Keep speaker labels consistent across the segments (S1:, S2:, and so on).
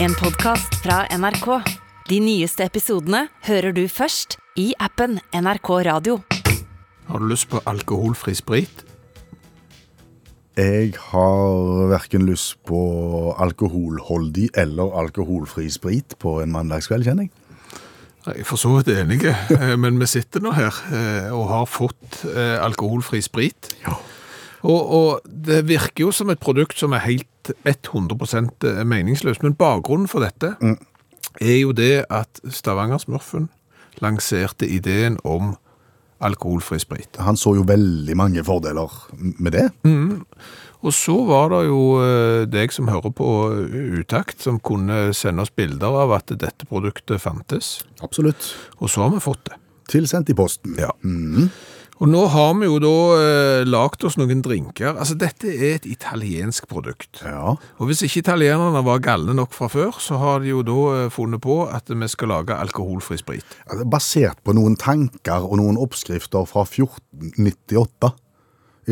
S1: En podcast fra NRK. De nyeste episodene hører du først i appen NRK Radio.
S2: Har du lyst på alkoholfri sprit?
S3: Jeg har hverken lyst på alkoholholdig eller alkoholfri sprit på en mandagskveld, kjenner jeg.
S2: Jeg er for så vidt enig, eh, men vi sitter nå her eh, og har fått eh, alkoholfri sprit. Og, og det virker jo som et produkt som er helt 100 meningsløst, men bakgrunnen for dette er jo det at Stavanger-smurfen lanserte ideen om alkoholfri sprit.
S3: Han så jo veldig mange fordeler med det.
S2: Og så var det jo eh, deg som hører på eh, Utakt, som kunne sende oss bilder av at dette produktet fantes.
S3: Absolutt.
S2: Og så har vi fått det.
S3: Tilsendt i posten.
S2: Ja.
S3: Mhm.
S2: Og nå har vi jo da eh, lagt oss noen drinker. Altså, dette er et italiensk produkt.
S3: ja.
S2: Og hvis ikke italienerne var galne nok fra før, så har de jo da eh, funnet på at vi skal lage alkoholfri sprit.
S3: Altså, Basert på noen tanker og noen oppskrifter fra 1498,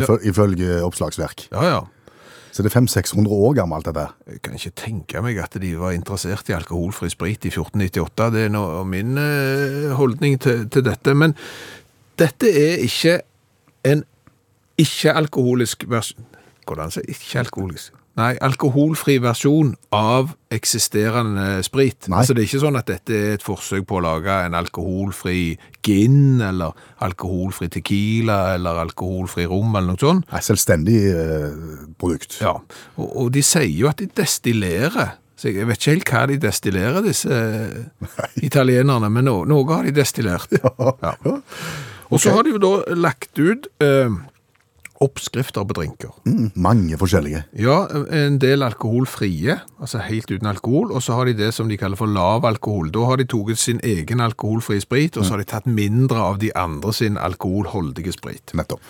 S3: ifø- ifølge oppslagsverk.
S2: Ja, ja.
S3: Så det er 500-600 år gammelt, dette.
S2: Jeg kan ikke tenke meg at de var interessert i alkoholfri sprit i 1498. Det er nå min eh, holdning til, til dette. Men dette er ikke en ikke-alkoholisk versjon Går det an å si ikke-alkoholisk? Nei, alkoholfri versjon av eksisterende sprit.
S3: Nei.
S2: Altså Det er ikke sånn at dette er et forsøk på å lage en alkoholfri gin, eller alkoholfri tequila, eller alkoholfri rom, eller noe sånt.
S3: Nei, Selvstendig eh, produkt.
S2: Ja, og, og de sier jo at de destillerer. Så jeg vet ikke helt hva de destillerer, disse eh, italienerne, men no, noe har de destillert. Ja. Og så har de jo da lagt ut eh, oppskrifter på drinker.
S3: Mm, mange forskjellige.
S2: Ja, en del alkoholfrie, altså helt uten alkohol, og så har de det som de kaller for lav alkohol. Da har de taget sin egen alkoholfri sprit, og så har de tatt mindre av de andre sin alkoholholdige sprit.
S3: Nettopp.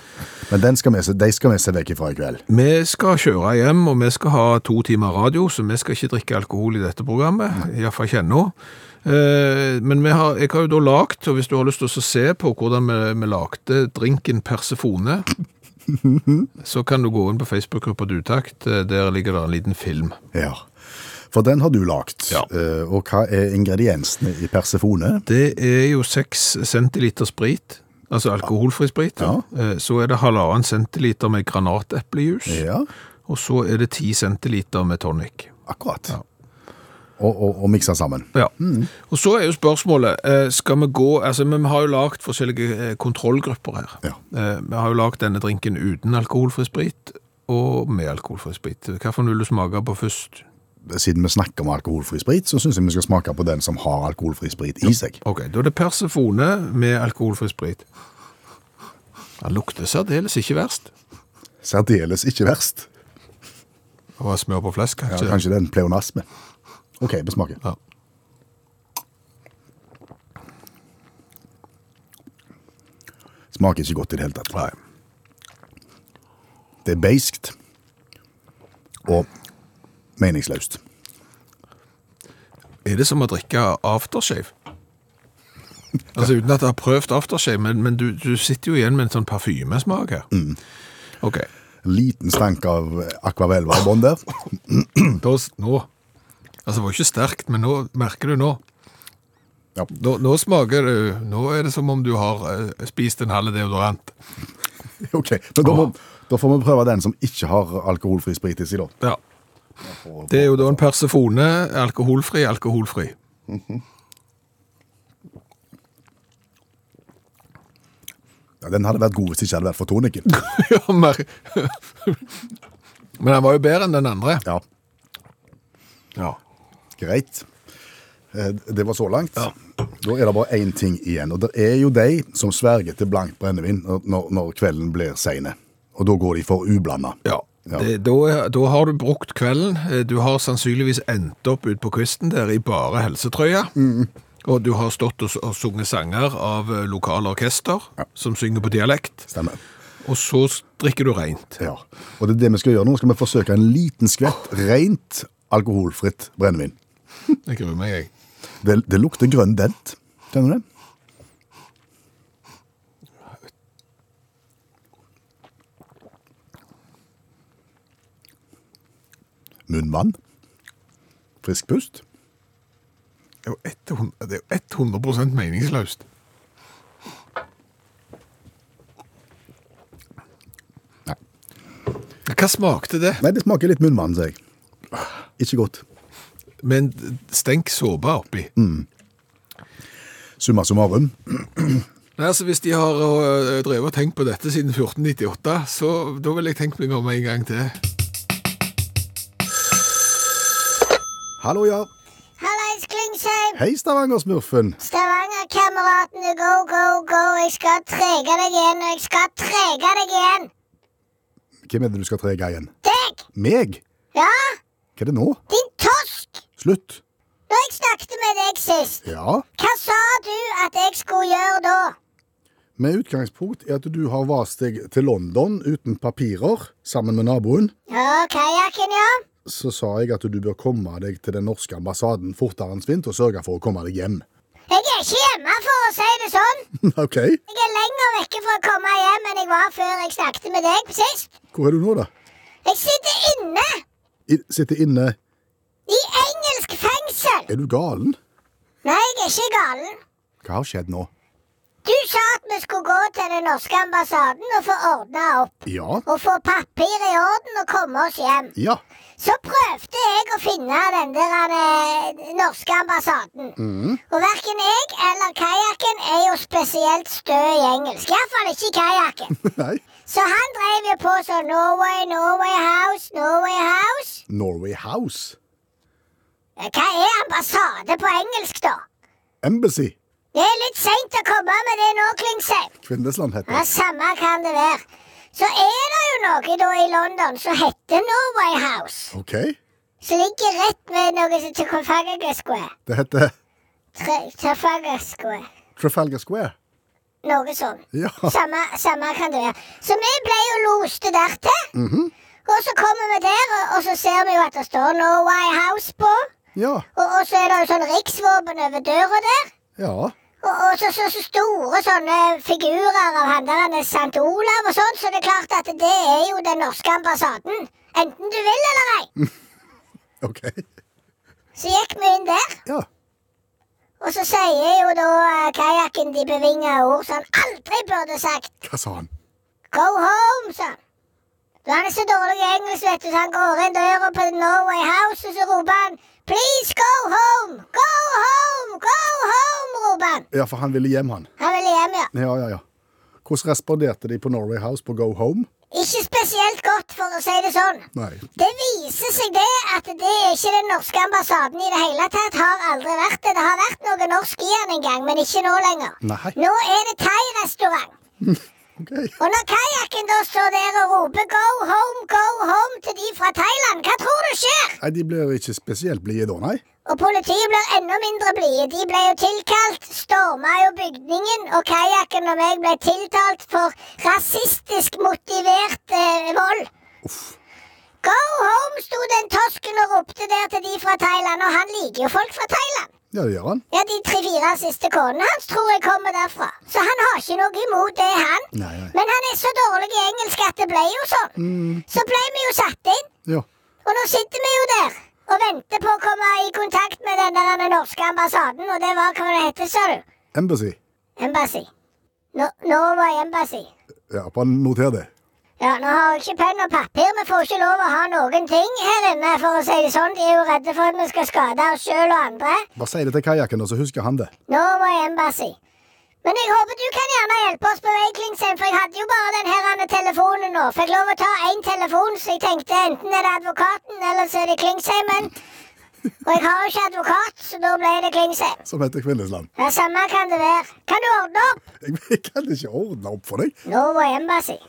S3: Men den skal vi se, de skal vi se vekk ifra i kveld.
S2: Vi skal kjøre hjem, og vi skal ha to timer radio, så vi skal ikke drikke alkohol i dette programmet, iallfall ikke ennå. Eh, Men vi har, jeg har jo da lagt, og hvis du har lyst til å se på hvordan vi, vi lagde drinken Persefone, så kan du gå inn på Facebook-gruppa Dutakt. Eh, Der ligger det en liten film.
S3: Ja. For den har du lagt.
S2: Ja.
S3: Eh, og hva er ingrediensene i persefone?
S2: Det er jo 6 centiliter sprit, altså alkoholfri sprit.
S3: Ja.
S2: Eh, Så er det halvannen centiliter med granateplejus,
S3: Ja,
S2: og så er det 10 centiliter med tonic.
S3: akkurat. Og, og, og miksa sammen.
S2: Ja. Og så er jo spørsmålet, eh, skal vi gå, altså men vi har jo lagt forskjellige eh, kontrollgrupper her.
S3: Ja.
S2: Eh, Vi har jo lagt denne drinken uten alkoholfri sprit, og med alkoholfri sprit. Hva får du smake på først?
S3: Siden vi snakker om alkoholfri sprit, så syns jeg vi skal smake på den som har alkoholfri sprit i seg.
S2: Ok, da er det persefone med alkoholfri sprit. Den lukter særdeles ikke verst.
S3: Særdeles ikke verst.
S2: Det var smør på flesk,
S3: Ja,
S2: kanskje.
S3: kanskje det er en pleonasme. OK, vi smaker.
S2: Ja.
S3: Smaker ikke godt i det hele tatt.
S2: Nei.
S3: Det er beiskt og meningsløst.
S2: Er det som å drikke aftershave? Altså uten at jeg har prøvd aftershave, men, men du, du sitter jo igjen med en sånn parfymesmak her. Ok,
S3: Liten stank av akvavelva i bånn der.
S2: da, s- nå, altså det var jo ikke sterkt, men nå merker du nå.
S3: Ja.
S2: Nå, nå smaker du, nå er det som om du har eh, spist en halv deodorant.
S3: OK, men da, må, da får vi prøve den som ikke har alkoholfri sprit i seg, da.
S2: Ja. Det er jo da en persefone, alkoholfri, alkoholfri.
S3: Ja, den hadde vært god hvis det ikke hadde vært for tonikken.
S2: Ja, mer- men den var jo bedre enn den andre.
S3: Ja,
S2: Ja.
S3: greit. Eh, Det var så langt. Da er det bare én ting igjen. Og det er jo de som sverger til blankt brennevin når- når, når kvelden blir seine. Og da går de for ublanda.
S2: Ja.
S3: Ja.
S2: Det, da, er- da har du brukt kvelden. Eh, Du har sannsynligvis endt opp ut på kvisten der i bare helsetrøya. Og du har stått og, s- og sunget sanger av eh, lokale orkester som synger på dialekt.
S3: Stemmer.
S2: Og så s- drikker du rent.
S3: Ja. Og det er det vi skal gjøre nå. Skal vi forsøke en liten skvett rent alkoholfritt brennevin.
S2: Jeg gruer meg, jeg.
S3: Det, det lukter grønn dent. Kjenner du det? Munnvann. Frisk pust.
S2: er jo 100, det er jo 100 meningsløst.
S3: Nei.
S2: Hva smakte det?
S3: Nei, det smaker litt munnvann, sier jeg. Ikke godt.
S2: Med en stenk såpe oppi.
S3: Summa summarum.
S2: Nei, altså Hvis de har øh, drevet og tenkt på dette siden 1498, så da vil jeg tenkt meg om en gang til.
S3: Hallo, ja.
S4: Hallais, Klingsheim!
S3: Hei, Stavanger-smurfen.
S4: Stavanger-kameratene, go, go, go! Jeg skal trege deg igjen, og jeg skal trege deg igjen!
S3: Hvem er det du skal trege igjen?
S4: Deg!
S3: Meg?
S4: Ja,
S3: Hva er det nå?
S4: din tosk!
S3: Slutt.
S4: Når jeg snakket med deg sist,
S3: Ja.
S4: hva sa du at jeg skulle gjøre da?
S3: Med utgangspunkt i at du har vast deg til London uten papirer, sammen med naboen,
S4: Ja, kajakken, ja.
S3: så sa jeg at du bør komme deg til den norske ambassaden fortere enn svint og sørge for å komme deg hjem.
S4: Jeg er ikke hjemme, for å si det sånn.
S3: OK.
S4: Jeg er lenger vekke fra å komme hjem enn jeg var før jeg snakket med deg sist.
S3: Hvor er du nå, da?
S4: Jeg sitter inne
S3: I, sitter inne
S4: i engelsk fengsel.
S3: Er du galen?
S4: Nei, jeg er ikke galen.
S3: Hva har skjedd nå?
S4: Du sa at vi skulle gå til den norske ambassaden og få ordna opp.
S3: Ja.
S4: Og få papir i orden og komme oss hjem.
S3: Ja.
S4: Så prøvde jeg å finne den der eh, norske ambassaden. Og verken jeg eller kajakken er jo spesielt stø i engelsk. Iallfall ikke kajakken.
S3: Nei.
S4: Så han drev jo på sånn Norway, Norway House, Norway House.
S3: Norway House.
S4: Hva er ambassade på engelsk, da?
S3: Embassy.
S4: Det er litt seint å komme med det nå, Klingsheim.
S3: Kvinnesland heter
S4: Ja,
S3: det.
S4: samme kan det være. Så er det jo noe da i London som heter Norway House.
S3: OK.
S4: Som ligger rett ved noe som heter Trafalgar Square.
S3: Det heter
S4: Tra- Trafalgar Square.
S3: Trafalgar Square.
S4: Noe sånn.
S3: Ja.
S4: Samme, samme kan det være. Så vi ble jo loste dertil. Og så kommer vi der, og, og så ser vi jo at det står Norway House på.
S3: Ja.
S4: Og, og så er det jo sånn riksvåpen over døra der.
S3: Ja.
S4: Og, og så, så, så store sånne figurer av han der han er St. Olav og sånn, så det er klart at det er jo den norske ambassaden. Enten du vil eller ei.
S3: OK.
S4: Så gikk vi inn der,
S3: Ja.
S4: og så sier jo da eh, kajakken de bevinga ord som han aldri burde sagt.
S3: Hva sa han?
S4: Go home, sa han. Da han er så dårlig i engelsk, vet du, så han går inn døra på Norway House, og så roper han Please go home! Go home! Go home! roper han.
S3: Ja, for han ville hjem, han.
S4: Han ville hjem, ja.
S3: Ja, ja, ja. Hvordan responderte de på Norway House på Go Home?
S4: Ikke spesielt godt, for å si det sånn.
S3: Nei.
S4: Det viser seg det at det er ikke den norske ambassaden i det hele tatt. Har aldri vært det. Det har vært noe norsk i den en gang, men ikke nå lenger.
S3: Nei.
S4: Nå er det thai-restaurant.
S3: OK.
S4: Og når kajakken da står der og roper 'go home, go home' til de fra Thailand, hva tror du skjer?
S3: Nei, de blir ikke spesielt blide da, nei.
S4: Og politiet blir enda mindre blide. De ble jo tilkalt, storma jo bygningen, og kajakken og meg ble tiltalt for rasistisk motivert eh, vold.
S3: Uff.
S4: Go home, sto den tosken og ropte der til de fra Thailand, og han liker jo folk fra Thailand.
S3: Ja, det gjør han.
S4: Ja, De tre-fire siste konene hans tror jeg kommer derfra, så han har ikke noe imot det, han.
S3: Nei, nei.
S4: Men han er så dårlig i engelsk at det ble jo sånn.
S3: Mm.
S4: Så ble vi jo satt inn,
S3: Ja.
S4: og nå sitter vi jo der og venter på å komme i kontakt med den der den norske ambassaden, og det var hva det hette, sa du?
S3: Embassy.
S4: Embassy. Nå, nå var Embassy.
S3: Ja, bare noter det.
S4: Ja, nå har jeg ikke penn og papir. Vi får ikke lov å ha noen ting her inne, for å si det sånn. De er jo redde for at vi skal skade oss sjøl og andre.
S3: Bare si det til kajakken, og så husker han det.
S4: Nå må jeg embassy. Men jeg håper du kan gjerne hjelpe oss på vei, Klingsheim, for jeg hadde jo bare den her andre telefonen nå. Fikk lov å ta én telefon, så jeg tenkte enten er det advokaten, eller så er det Klingsheimen. Og jeg har jo ikke advokat, så da ble det Klingsheim.
S3: Som heter Kvinnesland.
S4: Ja, samme kan det være. Kan du ordne opp?
S3: Jeg, jeg kan ikke ordne opp for deg.
S4: Norway Embassy.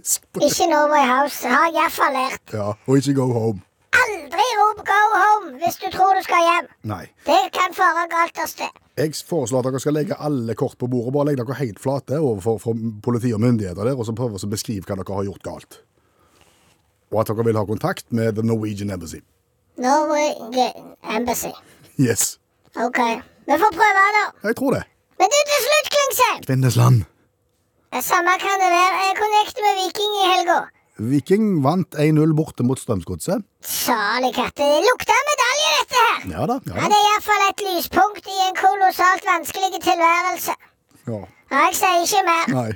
S3: Sp-
S4: Ikke Norway House. Har iallfall lært.
S3: Ja, og ikke Go Home.
S4: Aldri rop 'go home' hvis du tror du skal hjem.
S3: Nei.
S4: Det kan fare galt av sted.
S3: Jeg foreslår at dere skal legge alle kort på bordet. Bare legg dere helt flate overfor for politi og myndigheter der, og så prøve å beskrive hva dere har gjort galt. Og at dere vil ha kontakt med The Norwegian Embassy.
S4: Norway Ge- Embassy.
S3: Yes.
S4: OK. Vi får prøve, da.
S3: Jeg tror det.
S4: Men du, til slutt, Klingsheim.
S3: Kvinnesland.
S4: Ja, Samme kan det være. Jeg connecter med Viking i helga.
S3: Viking vant 1-0 borte mot Strømsgodset.
S4: Salig katt. Det lukta medalje detalj i dette her.
S3: Ja da. Ja,
S4: Ja,
S3: da.
S4: det er iallfall et lyspunkt i en kolossalt vanskelig tilværelse.
S3: Ja.
S4: Ja, jeg sier ikke mer.
S3: Nei.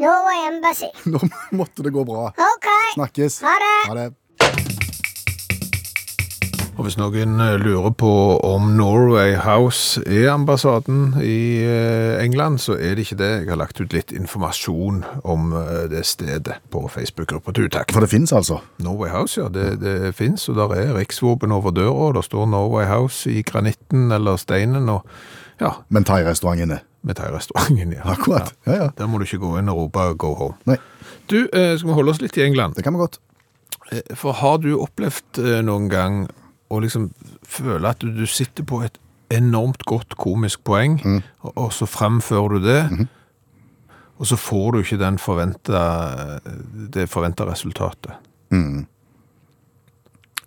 S4: Norway Embassy.
S3: Nå måtte det gå bra.
S4: OK.
S3: Snakkes.
S4: Ha det.
S3: Ha det.
S2: Og hvis noen eh, lurer på om Norway House er ambassaden i eh, England, så er det ikke det. Jeg har lagt ut litt informasjon om eh, det stedet på Facebook-gruppa til utakt.
S3: For det fins, altså.
S2: Norway House, ja, det, det fins, og der er riksvåpen over døra, og der står Norway House i granitten eller steinen, og ja,
S3: Men thai-restaurant inne.
S2: med thai-restauranten, ja.
S3: Akkurat. Ja, ja.
S2: Der må du ikke gå inn og rope 'go home'.
S3: Nei,
S2: Du, eh, skal vi holde oss litt i England?
S3: det kan vi godt.
S2: Eh, For har du opplevd eh, noen gang å liksom føle at du, du sitter på et enormt godt komisk poeng, og, og så fremfører du det, og så får du ikke den forventa, det forventa resultatet?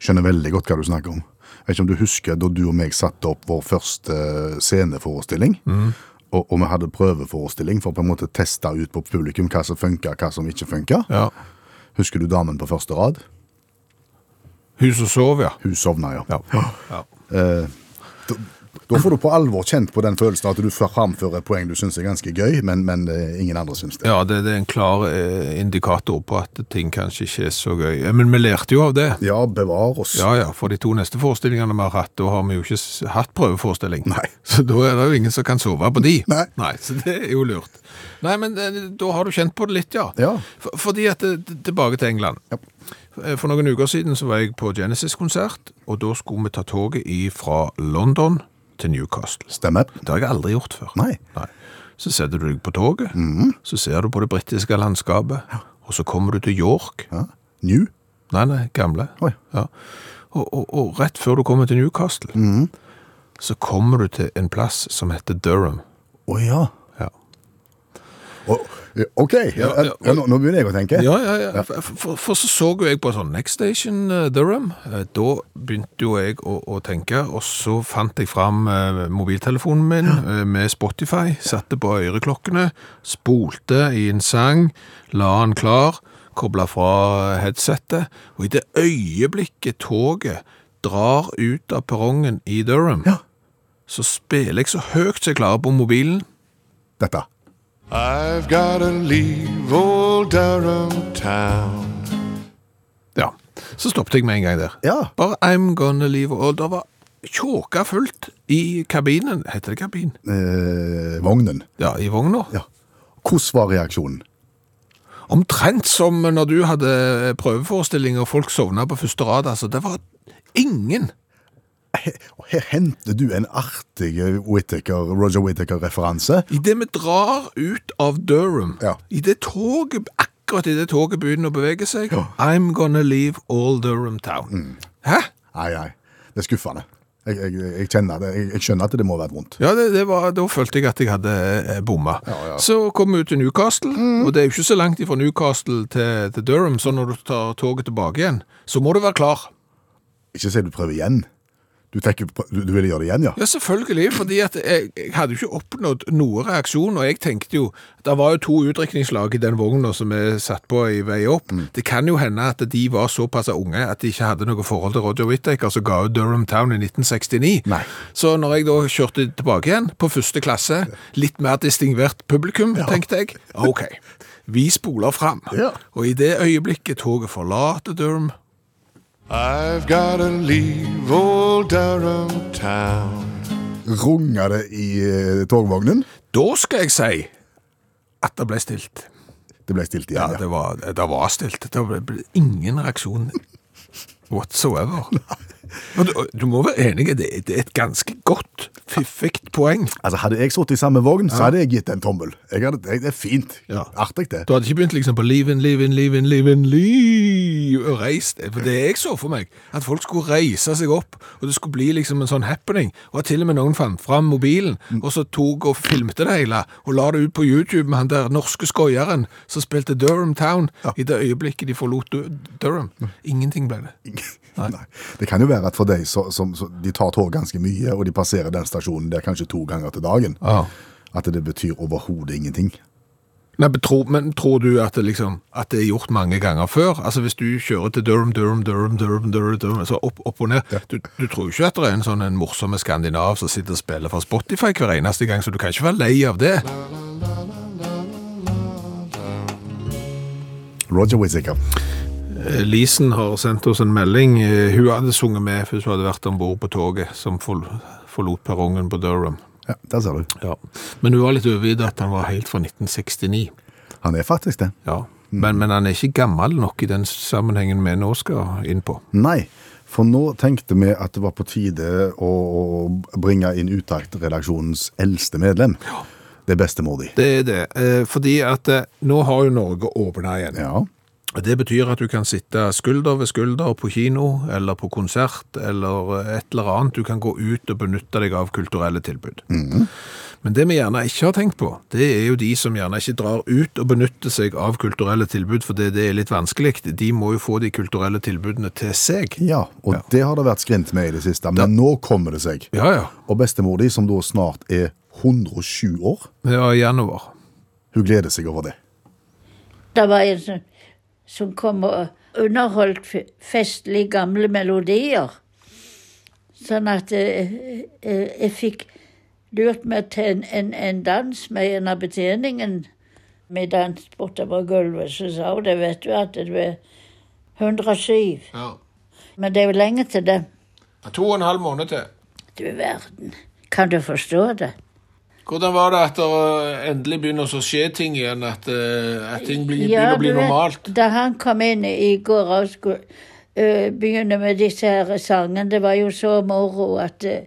S3: Skjønner veldig godt hva du snakker om. Jeg vet ikke om du husker da du og meg satte opp vår første eh, sceneforestilling.
S2: Mm.
S3: Og, og vi hadde prøveforestilling for å på en måte teste ut på publikum hva som funka, hva som ikke funka.
S2: Ja.
S3: Husker du damen på første rad?
S2: Hus og sov, ja.
S3: Hun sovna, ja.
S2: Ja. ja.
S3: Eh, da, da får du på alvor kjent på den følelsen at du framfører et poeng du syns er ganske gøy, men, men eh, ingen andre syns det.
S2: ja det, det er en klar eh, indikator på at ting kanskje ikke er så gøy. Eh, Men vi lærte jo av det.
S3: Ja, bevar oss.
S2: Ja, ja, for de to neste forestillingene vi har hatt, da har vi jo ikke s- hatt prøveforestilling.
S3: Nei.
S2: Så da er det jo ingen som kan sove på de.
S3: Nei.
S2: så det er jo lurt. Nei, men eh, da har du kjent på det litt, ja.
S3: Ja.
S2: For, fordi at, eh, t- tilbake til England.
S3: Ja.
S2: Eh, For noen uker siden så var jeg på Genesis-konsert, og da skulle vi ta toget fra London til Newcastle.
S3: Stemmer.
S2: Det har jeg aldri gjort før.
S3: Nei. Mhm.
S2: Så setter du deg på toget, så ser du på det brittiske landskapet, og så kommer du til York.
S3: Ja. New?
S2: Nei, nei, gamle.
S3: Oi.
S2: Ja. Og, og, og rett før du kommer til Newcastle, så kommer du til en plass som heter Durham.
S3: Å ja.
S2: Ja,
S3: Å, ja, OK. Ja,
S2: Ja, ja.
S3: ja, nå, nå begynner jeg å tenke.
S2: ja, ja. For, for, for så så jo jeg på sånn Next Station eh, Durham. Eh, Da begynte jo jeg å, å tenke, og så fant jeg fram eh, mobiltelefonen min eh, med Spotify, satte på øreklokkene, spolte i en sang, la den klar, kobla fra eh, headsetet, og i det øyeblikket toget drar ut av perrongen i Durham,
S3: Ja.
S2: så spiller jeg så høyt som jeg klarer på mobilen.
S3: Dette.
S5: I've gotta leave old Durham town.
S2: Ja, så stoppet jeg med en gang der.
S3: Ja.
S2: Bare I'm gonna leave Og det var tjåka fullt i kabinen. Heter det kabin?
S3: Eh, vognen.
S2: Ja, i vogna.
S3: Ja. Hvordan var reaksjonen?
S2: Omtrent som når du hadde prøveforestilling og folk sovna på første rad. Altså, det var ingen.
S3: Her, Eh, her henter du en artig Whittaker, Roger Whittaker-referanse.
S2: Idet vi drar ut av Durham,
S3: Ja.
S2: i det toget, akkurat idet toget begynner å bevege seg I'm gonna leave all Durham town.
S3: Mm.
S2: Hæ?
S3: Nei, nei. Det er skuffende. Jeg, jeg, jeg kjenner det. Jeg, jeg skjønner at det må være vondt.
S2: Ja, det, det var, da følte jeg at jeg hadde eh, bomma. Så kom vi ut til Newcastle, og det er jo ikke så langt fra Newcastle til, til Durham, så når du tar toget tilbake igjen, så må du være klar.
S3: Ikke si du prøver igjen. Du, tenker, på- du, du ville gjøre det igjen, ja?
S2: Ja, selvfølgelig, fordi at jeg, jeg hadde jo ikke oppnådd noe reaksjon, og jeg tenkte jo, det var jo to utdrikningslag i den vogna som er satt på i vei opp.
S3: Mm.
S2: Det kan jo hende at de var såpass unge at de ikke hadde noe forhold til Roger Whittaker, som ga ut Durham Town i 1969.
S3: Nei.
S2: Så når jeg da kjørte tilbake igjen, på første klasse, litt mer distingvert publikum, tenkte jeg, ok, vi spoler frem.
S3: Ja.
S2: Og i det øyeblikket toget forlater Durham,
S5: I've gotta leave old Durham town.
S3: Runger det i eh, togvognen?
S2: da skal jeg si at det ble stilt.
S3: Det ble stilt
S2: Ja,
S3: igjen, ja.
S2: det var, det var stilt. Det ble ble ingen reaksjon whatsoever. Og du, du må være enig, det, det er et ganske godt, fiffig poeng.
S3: Altså, Hadde jeg sittet i samme vogn, så hadde jeg gitt en tommel. Jeg hadde, jeg, det er fint.
S2: Ja.
S3: Artig, det.
S2: Du hadde ikke begynt liksom på live in, live in, live in, live in, live og reist. For det jeg så for meg, at folk skulle reise seg opp, og det skulle bli liksom en sånn happening, og at til og med noen fant fram mobilen, og så tok og filmte det hele, og la det ut på YouTube med han der norske skøyeren som spilte Durham Town i det øyeblikket de forlot Du- Durham. Ingenting ble det.
S3: Nei. Det kan jo være at for deg så, som, så, de tar tog ganske mye, og de passerer den stasjonen der kanskje to ganger til dagen,
S2: Ja.
S3: at det betyr overhodet ingenting.
S2: Nei, men tror, men tror du at det, liksom, at det er gjort mange ganger før? Altså Hvis du kjører til Durham, Durham, Durham, Durham, Durham, Durham altså opp, opp og ned du, du tror jo ikke at det er en sånn en morsomme skandinav som sitter og spiller fra Spotify hver eneste gang, så du kan ikke være lei av det.
S3: Roger Whittaker.
S2: Eh, Lisen har sendt oss en melding. Eh, Hun hadde sunget med hvis hun hadde vært om bord på toget som forl- forlot perrongen på Durham.
S3: Ja, der ser du.
S2: Ja. Men hun var litt overvidet at han var helt fra 1969.
S3: Han er faktisk det.
S2: Ja. Men, men han er ikke gammel nok i den sammenhengen vi nå skal inn på.
S3: Nei, for nå tenkte vi at det var på tide å å bringe inn Utakt-redaksjonens eldste medlem. Det er bestemor di.
S2: Det er det. Eh, fordi at eh, nå har jo Norge åpna igjen.
S3: Ja.
S2: Det betyr at du kan sitte skulder ved skulder på kino eller på konsert eller eh, et eller annet. Du kan gå ut og benytte deg av kulturelle tilbud. Men det vi gjerne ikke har tenkt på, det er jo de som gjerne ikke drar ut og benytter seg av kulturelle tilbud, fordi det er litt vanskelig. De må jo få de kulturelle tilbudene til seg.
S3: ja, og
S2: Ja.
S3: det har det vært skrint med i det siste, men nå kommer det seg.
S2: Ja, ja.
S3: Og bestemor di, som da snart er 107 år,
S2: Ja, i januar.
S3: hun gleder seg over det.
S6: Det var en som, som kom og underholdt fe- festlig gamle melodier. Sånn at eh, eh, jeg fikk lurt meg til en, en, en dans med en av betjeningen. Vi danset bortover gulvet, så sa hun det, vet du, at du er 107. Men det er jo lenge til det.
S2: To og en halv måned til.
S6: Du verden. Kan du forstå det?
S2: Hvordan var det at det endelig begynner å skje ting igjen? At, ting
S6: du vet, Da han kom inn i går og skulle øh, begynne med disse her sangene, det var jo så moro at øh,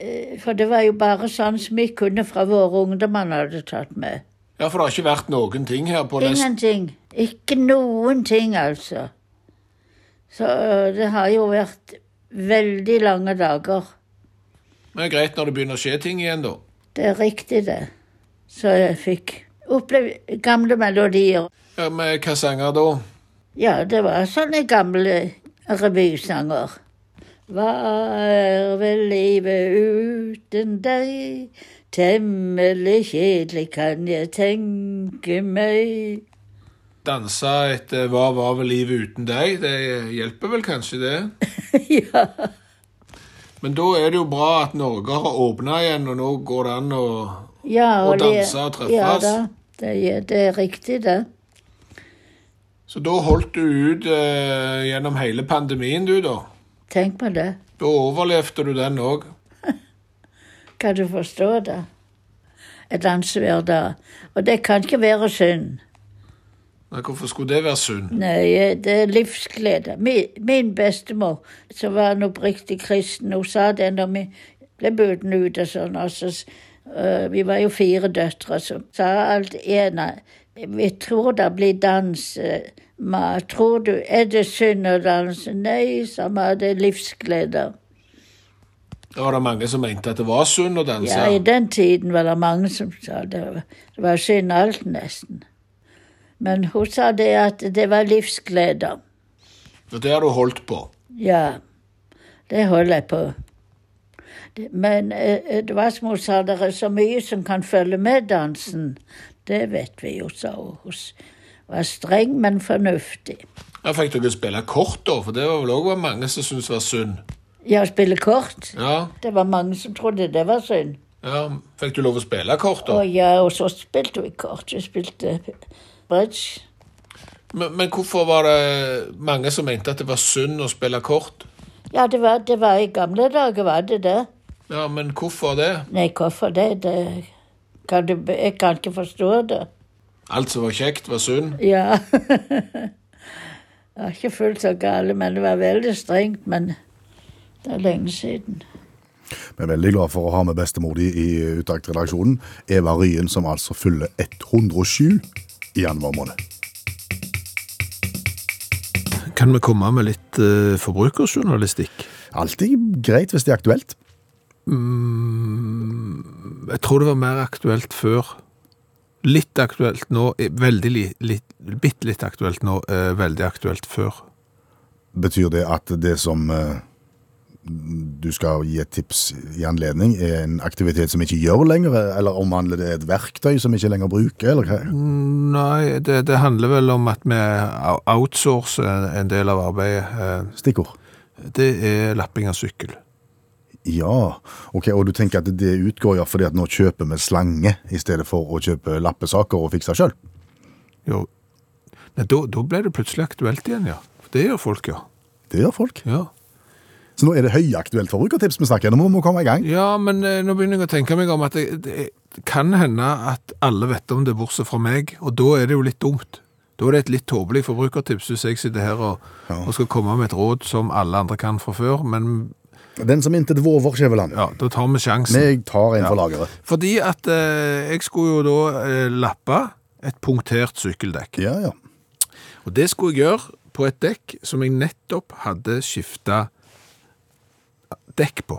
S6: øh, For det var jo bare sånn som vi kunne fra våre ungdommer han hadde tatt med.
S2: Ja, for det har ikke vært noen ting her på
S6: Ingenting. Ikke noen ting, altså. Så øh, det har jo vært veldig lange dager.
S2: Men det er greit når det begynner å skje ting igjen, da.
S6: Det er riktig, det. Så jeg fikk oppleve gamle melodier.
S2: Ja, Med hva sanger da?
S6: Ja, det var sånn sånne gamle eh, revysanger. Hva er vel livet uten deg? Temmelig kjedelig kan jeg tenke meg.
S2: Danse etter eh, Hva var vel livet uten deg? Det hjelper vel kanskje, det?
S6: ja.
S2: Men da er det jo bra at Norge har åpna igjen, og nå går det an å
S6: ja
S2: Og
S6: le-
S2: danse og treffes.
S6: Ja da, det, ja, det er riktig det.
S2: Så da holdt du ut eh, gjennom hele pandemien, du, da?
S6: Tenk på det.
S2: Da overlevde du den òg.
S6: Kan du forstå det? Jeg danser hver dag. Og det kan ikke være synd.
S2: Hvorfor skulle det være synd?
S6: Nei, det er livsglede. Min, min bestemor, som var en oppriktig kristen, hun sa det når vi ble buden ut og sånn. Og så, s- øh, vi var jo fire døtre, så sa alt ene Vi tror det blir dans, eh, ma. Tror du Er det synd å danse? Nei, sa ma. Det er livsglede.
S2: Da var det mange som mente at det var synd å danse.
S6: Ja, i den tiden var det mange som sa det. var- Det var synd alt, nesten. Men hun sa det at det var livsglede.
S2: Og det har du holdt på.
S6: Ja, det holder jeg på. Det- Men eh, det var som hun sa, det er så mye som kan følge med dansen. Det vet vi jo, sa hun. Hun s- var streng, men fornuftig.
S2: Da fikk dere spille kort, da, for det var vel òg mange som syntes var synd.
S6: Ja, å spille kort.
S2: Ja,
S6: Det var mange som trodde det var synd.
S2: ja. Fikk du lov å spille kort, da?
S6: Og ja, og så spilte vi kort. Vi spilte bridge.
S2: Men, men hvorfor var det mange som mente at det var synd å spille kort?
S6: Ja, det var, det var i gamle dager, var det det?
S2: Ja, men hvorfor det?
S6: Nei, hvorfor det? det kan du, jeg kan ikke forstå det.
S2: Alt som var kjekt, var synd.
S6: Ja. det var ikke fullt så gale, men det var veldig strengt. Men det er lenge siden.
S3: Vi er veldig glad for å ha med bestemor di i Utakt-redaksjonen. Eva Ryen, som altså fyller 107 i januar måned.
S2: Kan vi komme med litt eh, forbrukersjournalistikk?
S3: Alltid greit hvis det er aktuelt.
S2: Jeg tror det var mer aktuelt før. Litt aktuelt nå, eh, veldig li- litt, bitte litt aktuelt nå, eh, veldig aktuelt før.
S3: Betyr det at det som eh, du skal gi et tips i anledning, er en aktivitet som ikke gjør lenger, eller omhandler det et verktøy som ikke lenger bruker, eller hva?
S2: Nei, det, det handler vel om at vi ou- outsourcer en- en del av arbeidet. Eh,
S3: Stikkord.
S2: Det er lapping av sykkel.
S3: Ja, ok, og du tenker at det utgår ja fordi at nå kjøper vi slange i stedet for å kjøpe lappesaker og fikse selv.
S2: Jo. Nei, da, da ble det plutselig aktuelt igjen, ja. For Det gjør folk, ja.
S3: Det gjør folk.
S2: Ja,
S3: Så nå er det høyaktuelt forbrukertips vi snakker, nå må vi komme i gang.
S2: ja men eh, nå begynner jeg å tenke meg om at det, det kan hende at alle vet om det, bortsett fra meg, og da er det jo litt dumt. Da er det et litt tåpelig forbrukertips hvis jeg sitter her og, og skal komme med et råd som alle andre kan fra før, men
S3: Den som intet våver, Skjæveland.
S2: ja, da tar vi sjansen.
S3: Jeg tar en for lageret.
S2: Fordi at eh, jeg skulle jo da eh, lappe et punktert sykkeldekk.
S3: Ja, ja.
S2: Og det skulle jeg gjøre på et dekk som jeg nettopp hadde skifta dekk på.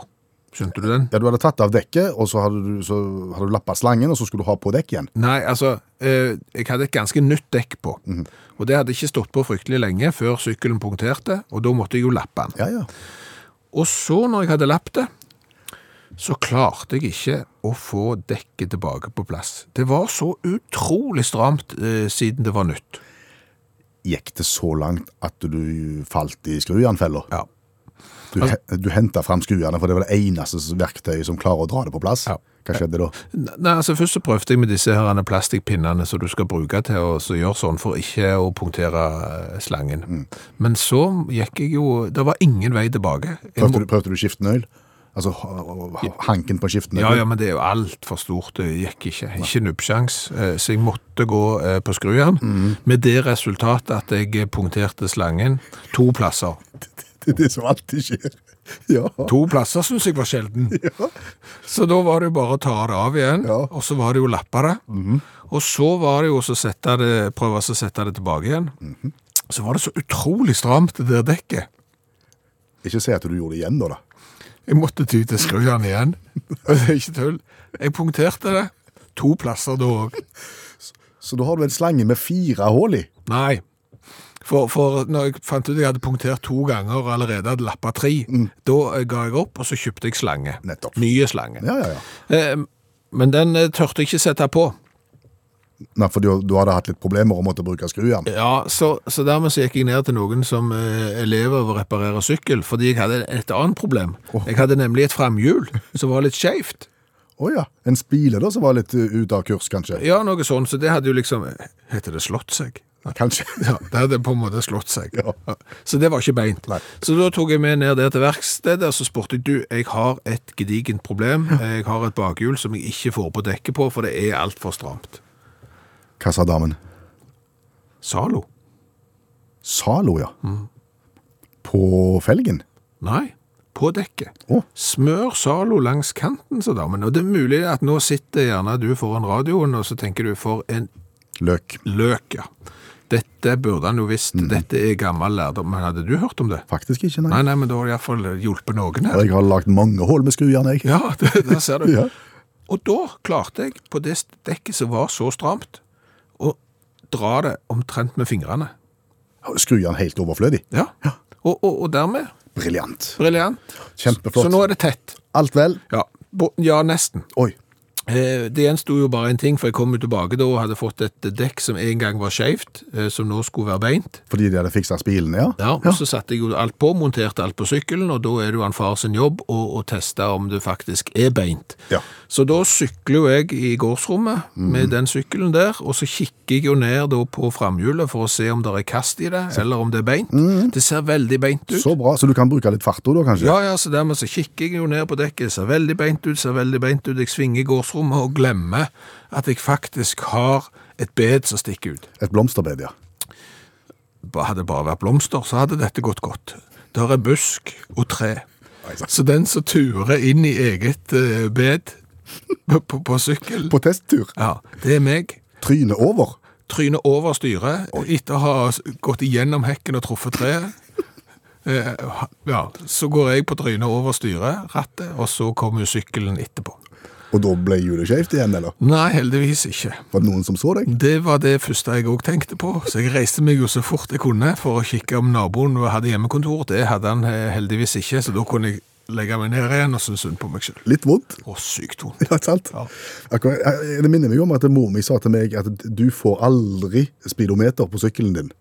S2: Skjønte du den?
S3: Ja, du hadde tatt av dekket, og så hadde du, så hadde du lappet slangen, og så skulle du ha på dekk igjen.
S2: Nei, altså, eh, jeg hadde et ganske nytt dekk på.
S3: Mhm.
S2: Og det hadde ikke stått på fryktelig lenge før sykkelen punkterte, og da måtte jeg jo lappe den.
S3: Ja, ja.
S2: Og så, når jeg hadde lappet det, så klarte jeg ikke å få dekket tilbake på plass. Det var så utrolig stramt eh, siden det var nytt.
S3: Gikk det så langt at du falt i skrujernfeller?
S2: Ja.
S3: Du, he- du hentet frem skrujerne, for det var det eneste verktøyet som klarer å dra det på plass.
S2: Ja.
S3: Hva skjedde da?
S2: Nei, altså Først så prøvde jeg med disse her plastikkpinnene som du skal bruke til å så gjøre sånn for ikke å punktere eh, slangen. Men så gikk jeg jo Det var ingen vei tilbake. Jeg må-
S3: Prøvde du, prøvde du skiftenøl? Altså ha- ha- hanken på skiftenøl?
S2: ja, ja, men det er jo altfor stort. Det gikk ikke. Ikke nubbsjans. Eh, Så jeg måtte gå eh, på skrujern. Med det resultatet at jeg eh, punkterte slangen to plasser.
S3: Det er det som alltid skjer. Ja.
S2: To plasser syns jeg var sjelden. Så da var det jo bare å ta det av igjen,
S3: Ja. Mhm.
S2: og så var det jo å lappe det. Og så var det jo å sette det, prøve å sette det tilbake igjen.
S3: Mhm.
S2: Så var det så utrolig stramt, det der dekket.
S3: Ikke si at du gjorde det igjen da, da.
S2: Jeg måtte ty til skrujern igjen. Og det er ikke tull. Jeg punkterte det. To plasser da òg.
S3: Så da har du en slange med fire hål i.
S2: Nei. For, for når jeg fant ut jeg hadde punktert to ganger og allerede hadde lappa tre, da eh, ga jeg opp, og så kjøpte jeg slange.
S3: Mm. Nettopp.
S2: Nye slange.
S3: Ja, ja, ja.
S2: Eh, men den eh, tørte jeg ikke sette på.
S3: Nei, for du, du hadde hatt litt problemer og måtte bruke skrujern.
S2: Ja, så, så dermed så gikk jeg ned til noen som eh, elever over å reparere sykkel, fordi jeg hadde et annet problem. Jeg hadde nemlig et framhjul som var litt skjevt.
S3: Å ja. En spile da som var litt uh, ute av kurs, kanskje.
S2: Ja, noe sånn, så det hadde jo liksom, heter det slått seg?
S3: Kanskje.
S2: Ja, det hadde på en måte slått seg.
S3: Ja.
S2: Så det var ikke beint.
S3: Nei.
S2: Så da tok jeg med ned der til verkstedet, og så spurte jeg, du, jeg har et gedigent problem. Jeg har et bakhjul som jeg ikke får på dekket på, for det er alt for stramt.
S3: Hva sa damen?
S2: Salo?
S3: Zalo, ja.
S2: Mm.
S3: På felgen?
S2: Nei, på dekket.
S3: Å,
S2: Smør Zalo langs kanten, sa damen. Og det er mulig at nå sitter gjerne du foran radioen, og så tenker du for en
S3: løk.
S2: løk, ja. Dette burde han jo visst.
S3: Mm.
S2: Dette er gammel lærdom. Men hadde du hørt om det?
S3: Faktisk ikke, nei.
S2: Nei, nei, men da har det iallfall hjulpet noen
S3: Og
S2: her.
S3: Jeg har lagt mange hål med skrujern, jeg.
S2: Ja, det, der ser du.
S3: Ja.
S2: Og da klarte jeg, på det dekket som var så stramt, å dra det omtrent med fingrene.
S3: Skrujern helt overflødig.
S2: Ja. Og, og, og dermed
S3: Briljant.
S2: briljant.
S3: Kjempeflott.
S2: Så nå er det tett.
S3: Alt vel?
S2: Ja, bo- ja nesten.
S3: Oi.
S2: Eh, Det gjensto jo bare en ting, for jeg kom jo tilbake da og hadde fått et dekk som en gang var skjevt, eh, som nå skulle være beint.
S3: Fordi de hadde fiksa spilene, ja?
S2: Ja, og Så satte jeg jo alt på, monterte alt på sykkelen, og da er det jo han far sin jobb å, å teste om det faktisk er beint.
S3: Ja.
S2: Så da sykler jo jeg i gårdsrommet
S3: Mhm.
S2: med den sykkelen der, og så kikker jeg jo ned da på framhjulet for å se om det er kast i det, eller om det er beint. Det ser veldig beint ut.
S3: Mhm. Så bra. Så du kan bruke litt fart også da, kanskje?
S2: Ja, ja, så dermed så kikker jeg jo ned på dekket, ser veldig beint ut, ser veldig beint ut, jeg svinger i gårdsrommet og glemmer at jeg faktisk har et bed som stikker ut.
S3: Et blomsterbed, ja.
S2: Ba- Hadde det bare vært blomster, så hadde dette gått godt. Der er busk og tre. Så den som turer inn i eget eh, bed på, på, på sykkel,
S3: På testtur.
S2: ja, det er meg.
S3: Trynet over.
S2: Trynet over styret, etter å ha s- gått igjennom hekken og truffet treet. Eh, ha- Ja, så går jeg på trynet over styret, rattet, og så kommer jo sykkelen etterpå.
S3: Og da ble hjulet skjevt igjen, eller?
S2: Nei, heldigvis ikke.
S3: Var det noen som så deg?
S2: Det var det første jeg òg tenkte på, så jeg reiste meg jo så fort jeg kunne for å kikke om naboen hadde hjemmekontor. Det hadde han eh, heldigvis ikke, så da kunne jeg legge meg ned igjen og synes synd på meg selv.
S3: Litt vondt.
S2: Å, sykt vondt.
S3: Ja, ikke sant?
S2: Ja.
S3: Akkurat, eh, det minner meg om at mor mi sa til meg at du får aldri speedometer på sykkelen din.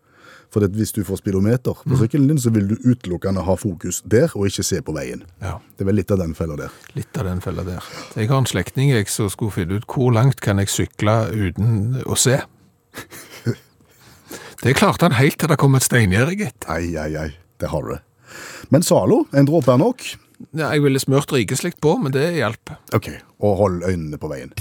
S3: For at hvis du får speedometer på sykkelen din, så vil du utelukkende ha fokus der, og ikke se på veien.
S2: Ja,
S3: Det er vel litt av den fella der.
S2: litt av den fella der. Jeg har en slektning jeg som skulle finne ut hvor langt kan jeg sykle uten å se. Det klarte han helt til det kom et steingjerde, gitt.
S3: Ai, ai, ai. Det har du det. Men Zalo, en dråpe er nok.
S2: Ja, jeg ville smurt rikeslikt på, men det hjalp.
S3: Ok, og hold øynene på veien.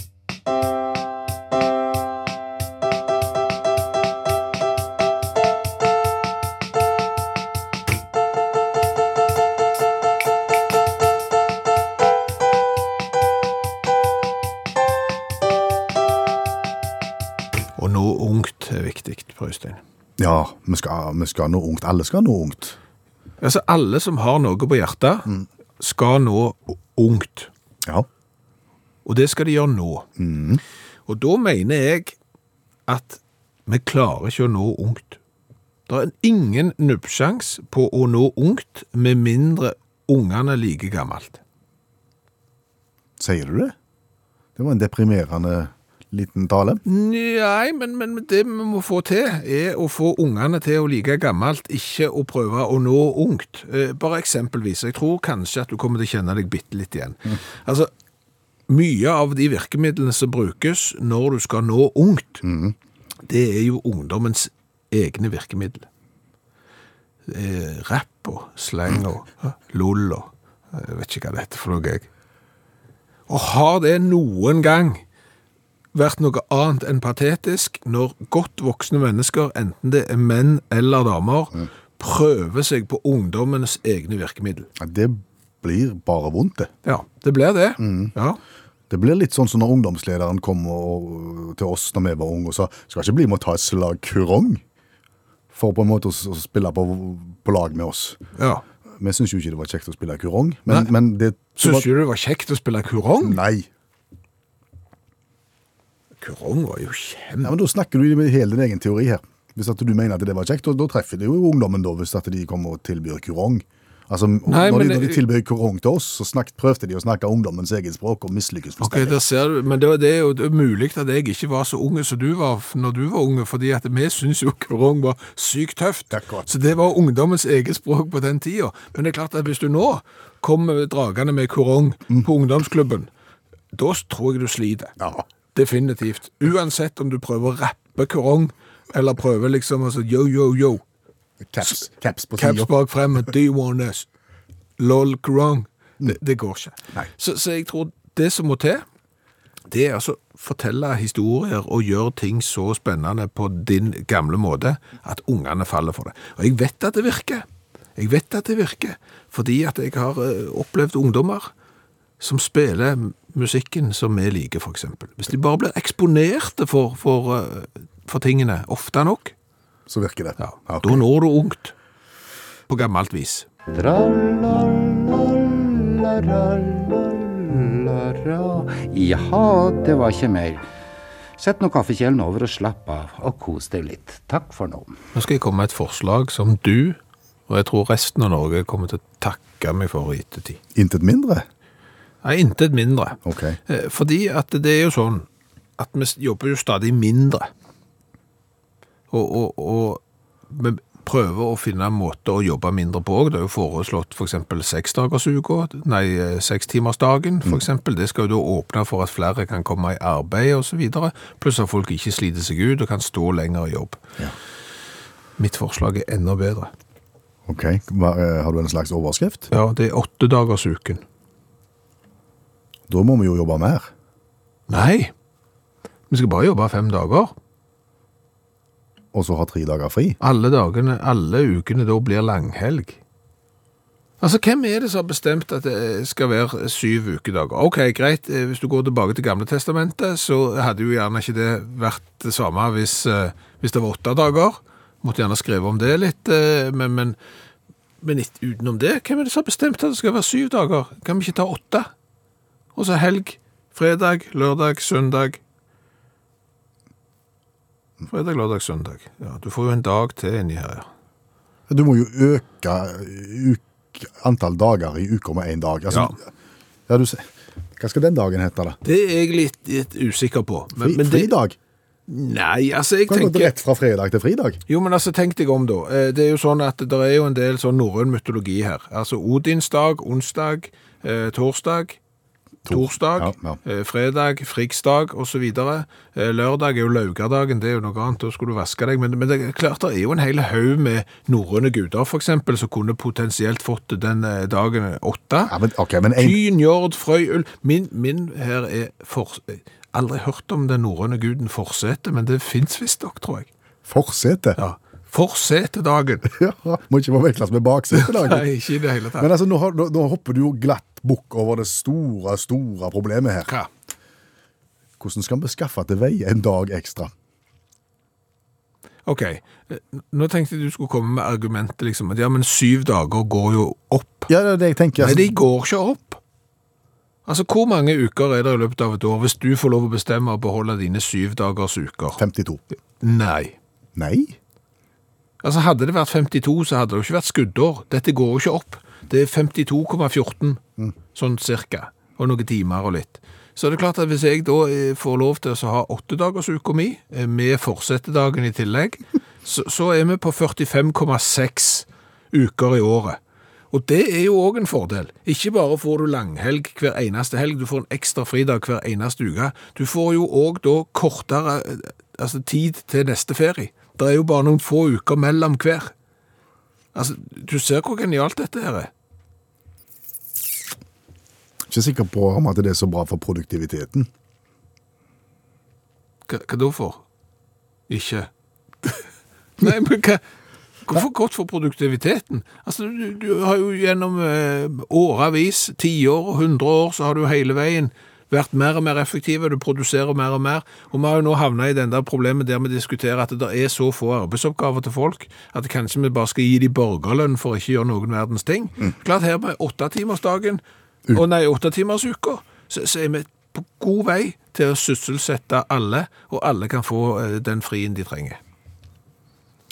S2: Og nå ungt er viktig, Per Øystein.
S3: Ja, vi skal, vi skal ha noe ungt. Alle skal ha noe ungt.
S2: Altså, alle som har noe på hjertet, skal nå ungt.
S3: Ja.
S2: Og det skal de gjøre nå. Og da mener jeg at vi klarer ikke å nå ungt. Det er ingen nubbsjans på å nå ungt, med mindre ungene er like gammelt.
S3: Sier du det? Det var en deprimerende liten tale.
S2: Nei, men, men det vi må få til, er å få ungene til å like gammelt, ikke å prøve å nå ungt. Eh, Bare eksempelvis, jeg tror kanskje at du kommer til å kjenne deg bitte litt igjen. Altså, mye av de virkemidlene som brukes når du skal nå ungt, det er jo ungdommens egne virkemiddel. Eh, rapp og sleng og lull og eh, jeg vet ikke hva det heter for noe, jeg. Og har det noen gang vært noe annet enn patetisk når godt voksne mennesker, enten det er menn eller damer, prøver seg på ungdommenes egne virkemiddel.
S3: Ja, Det blir bare vondt, det.
S2: Ja, det blir det. Ja.
S3: Det blir litt sånn som når ungdomslederen kom og, til oss når vi var unge og sa skal ikke bli med å ta et slag kurong for på en måte å, s- å spille på, på lag med oss.
S2: ja.
S3: Vi syntes jo ikke det var kjekt å spille kurong, men, men det, det
S2: Syns
S3: var,
S2: du det var kjekt å spille kurong?
S3: Nei.
S2: Kurong var jo
S3: Ja,
S2: kjempe...
S3: men Da snakker du med hele din egen teori her. Hvis at du mener at det var kjekt, da, da treffer det jo ungdommen da, hvis at de kommer og tilbyr kurong. Altså,
S2: Nei,
S3: når, de,
S2: men-
S3: når de tilbød kurong til oss, så snakket, prøvde de å snakke ungdommens eget språk og mislykkes
S2: Ok, der
S3: fullstendig.
S2: ser du, men det, var- det er jo det er mulig at jeg ikke var så unge som du var f- når du var unge, fordi at vi syntes jo kurong var sykt tøft.
S3: Akkurat.
S2: Så det var ungdommens eget språk på den tida. Men det er klart at hvis du nå kommer dragende med kurong på ungdomsklubben, da tror jeg du sliter.
S3: Mm. Ja.
S2: Definitivt. Uansett om du prøver å rappe kurong, eller prøver liksom altså, yo, yo, yo,
S3: Caps, caps på
S2: caps
S3: sida.
S2: bak frem, do you want us? Lol, kurong. Det, det går ikke.
S3: Nei.
S2: Så, så jeg tror det som må til, det er altså fortelle historier og gjøre ting så spennende på din gamle måte at ungene faller for det. Og jeg vet at det virker. Jeg vet at det virker, fordi at jeg har eh, opplevd ungdommer som spiller musikken som vi liker, for eksempel. Hvis de bare blir eksponerte for, for, eh, for tingene ofte nok,
S3: Så virker det.
S2: ja,
S3: Ja, ok.
S2: da når du ungt på gammelt vis.
S7: Tra-la-la-la-la-ra. Jaha, det var ikke mer. Sett nå kaffekjelen over og slapp av, og kos deg litt. Takk for nå.
S2: Nå skal jeg komme med et forslag som du, og jeg tror resten av Norge, kommer til å takke meg for i ettertid.
S3: Intet mindre.
S2: Nei, intet mindre.
S3: Ok.
S2: Eh, Fordi at det er jo sånn at vi jobber jo stadig mindre. Og, og, og vi prøver å finne en måte å jobbe mindre på òg. Det er jo foreslått f.eks. For seksdagersuka, nei, eh, sekstimersdagen f.eks. Det skal jo da åpne for at flere kan komme i arbeid osv. Pluss at folk ikke sliter seg ut og kan stå lenger i jobb. Mitt forslag er enda bedre.
S3: Ok, Hva, eh, Har du en slags overskrift?
S2: Ja, det er åttedagersuken.
S3: Da må vi jo jobbe mer.
S2: Nei! Vi skal bare jobbe fem dager.
S3: Og så ha tre dager fri.
S2: alle dagene, alle ukene da blir langhelg. Altså, hvem er det som har bestemt at det skal være syv ukedager? Ok, greit, eh, hvis du går tilbake til gamle testamentet, så hadde jo gjerne ikke det vært det samme hvis, eh, hvis det var åtte dager. Måtte gjerne skrive om det litt, eh, men, men, men litt utenom det, hvem er det som har bestemt at det skal være syv dager? Kan vi ikke ta åtte? Og så helg, fredag, lørdag, søndag. Fredag, lørdag, søndag. Ja, du får jo en dag til inni her, ja.
S3: Du må jo øke tok eh, antall dager i uka med én dag. Altså, ja. du ser. Hva skal den dagen hete, da?
S2: Det er jeg litt, litt usikker på. Men,
S3: Fri,
S2: men det-
S3: fridag?
S2: Nei, altså jeg
S3: Kan gå
S2: tenker
S3: rett fra fredag til fridag?
S2: Jo, men altså, tenk deg om, da. Eh, Det er jo sånn at det er jo en del sånn norrøn mytologi her. Altså Odinsdag, onsdag, eh, torsdag, torsdag,
S3: ja,
S2: eh, fredag, friksdag osv. Eh, Lørdag er jo laugardagen, det er jo noe annet, da skulle du vaske deg. Men, men det er klart det er jo en hel haug med norrøne guder, f.eks., som kunne potensielt fått den eh, dagen åtte.
S3: Ja, men, ok, men en,
S2: Tyn, njord, frøy, ull. Min, min her er for... Aldri hørt om den norrøne guden Forsete, men det fins visstnok, tror jeg.
S3: Forsete?
S2: Ja. Forsetedagen.
S3: Ja, må ikke forveksles med baksetedagen.
S2: Nei, ikke i det hele tatt.
S3: Men altså, nå, har- nå, nå hopper du jo glatt bukk over det store, store problemet her.
S2: Hva?
S3: Hvordan skal vi skaffe til veie en dag ekstra?
S2: Ok, eh, nå tenkte jeg du skulle komme med argumentet liksom, at ja, men syv dager går jo opp.
S3: Ja, det er det jeg tenker.
S2: Nei,
S3: Altså,
S2: de går ikke opp. Altså, hvor mange uker er det i løpet av et år hvis du får lov å bestemme å beholde dine syv dagers uker?
S3: 52.
S2: Nei.
S3: Altså, Nei?
S2: Altså, hadde det vært 52, så hadde det jo ikke vært skuddår. Dette går jo ikke opp. Det er 52,14, sånn cirka, og noen timer og litt. Så det er klart at hvis jeg da eh, får lov til å ha åtte dagers uke mi, eh, med forsettedagen i tillegg, så, så er vi på 45,6 uker i året. Og det er jo òg en fordel. Ikke bare får du langhelg hver eneste helg, du får en ekstra fridag hver eneste uke. Du får jo òg da kortere eh, altså, tid til neste ferie. Det er jo bare noen få uker mellom hver. Altså, Du ser hvor genialt dette her er.
S3: Ikke sikker på om at det er så bra for produktiviteten.
S2: Hva, hva da for? Ikke Nei, men hva Hvorfor godt for produktiviteten? Altså, du, du har jo gjennom eh, årevis, tiår og hundre år, så har du hele veien vært mer og mer effektiv, og du produserer mer og mer. Og vi har jo nå havna i den der problemet der vi diskuterer at det er så få arbeidsoppgaver til folk at kanskje vi bare skal gi de borgerlønn for å ikke gjøre noen verdens ting. Klart her med åttetimersdagen, og nei, åttetimersuka, så, så er vi på god vei til å sysselsette alle, og alle kan få eh, den frien de trenger.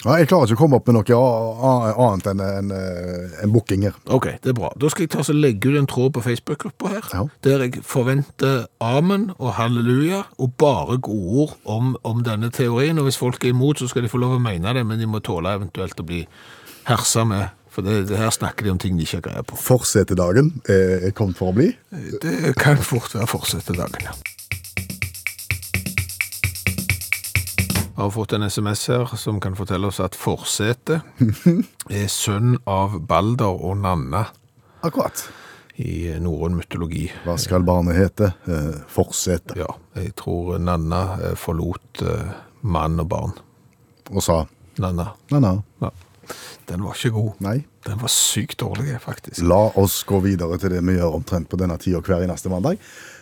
S3: Ja, jeg klarer ikke å komme opp med noe a- a- annet enn en, eh, en booking her.
S2: Ok, det er bra. Da skal jeg ta og så legge ut en tråd på Facebook-gruppa her,
S3: Ja.
S2: der jeg forventer amen og halleluja og bare gode ord om, om denne teorien. Og hvis folk er imot, så skal de få lov å mene det, men de må tåle eventuelt å bli hersa med. For det, det her snakker de om ting de ikke har greie på.
S3: Forsetedagen er er kommet for å bli.
S2: Det kan fort være fortsette dagen, ja. Jeg har fått en sms her som kan fortelle oss at Forsete er sønn av Balder og Nanna
S3: Akkurat.
S2: i norrøn mytologi.
S3: Hva skal barnet hete? Eh, Forsete.
S2: Ja, jeg tror Nanna eh, forlot eh, mann og barn.
S3: Og sa
S2: Nanna.
S3: nei, nei,
S2: Ja. Den var ikke god.
S3: nei.
S2: Den var sykt dårlig, faktisk.
S3: La oss gå videre til det vi gjør omtrent på denne tida hver eneste mandag.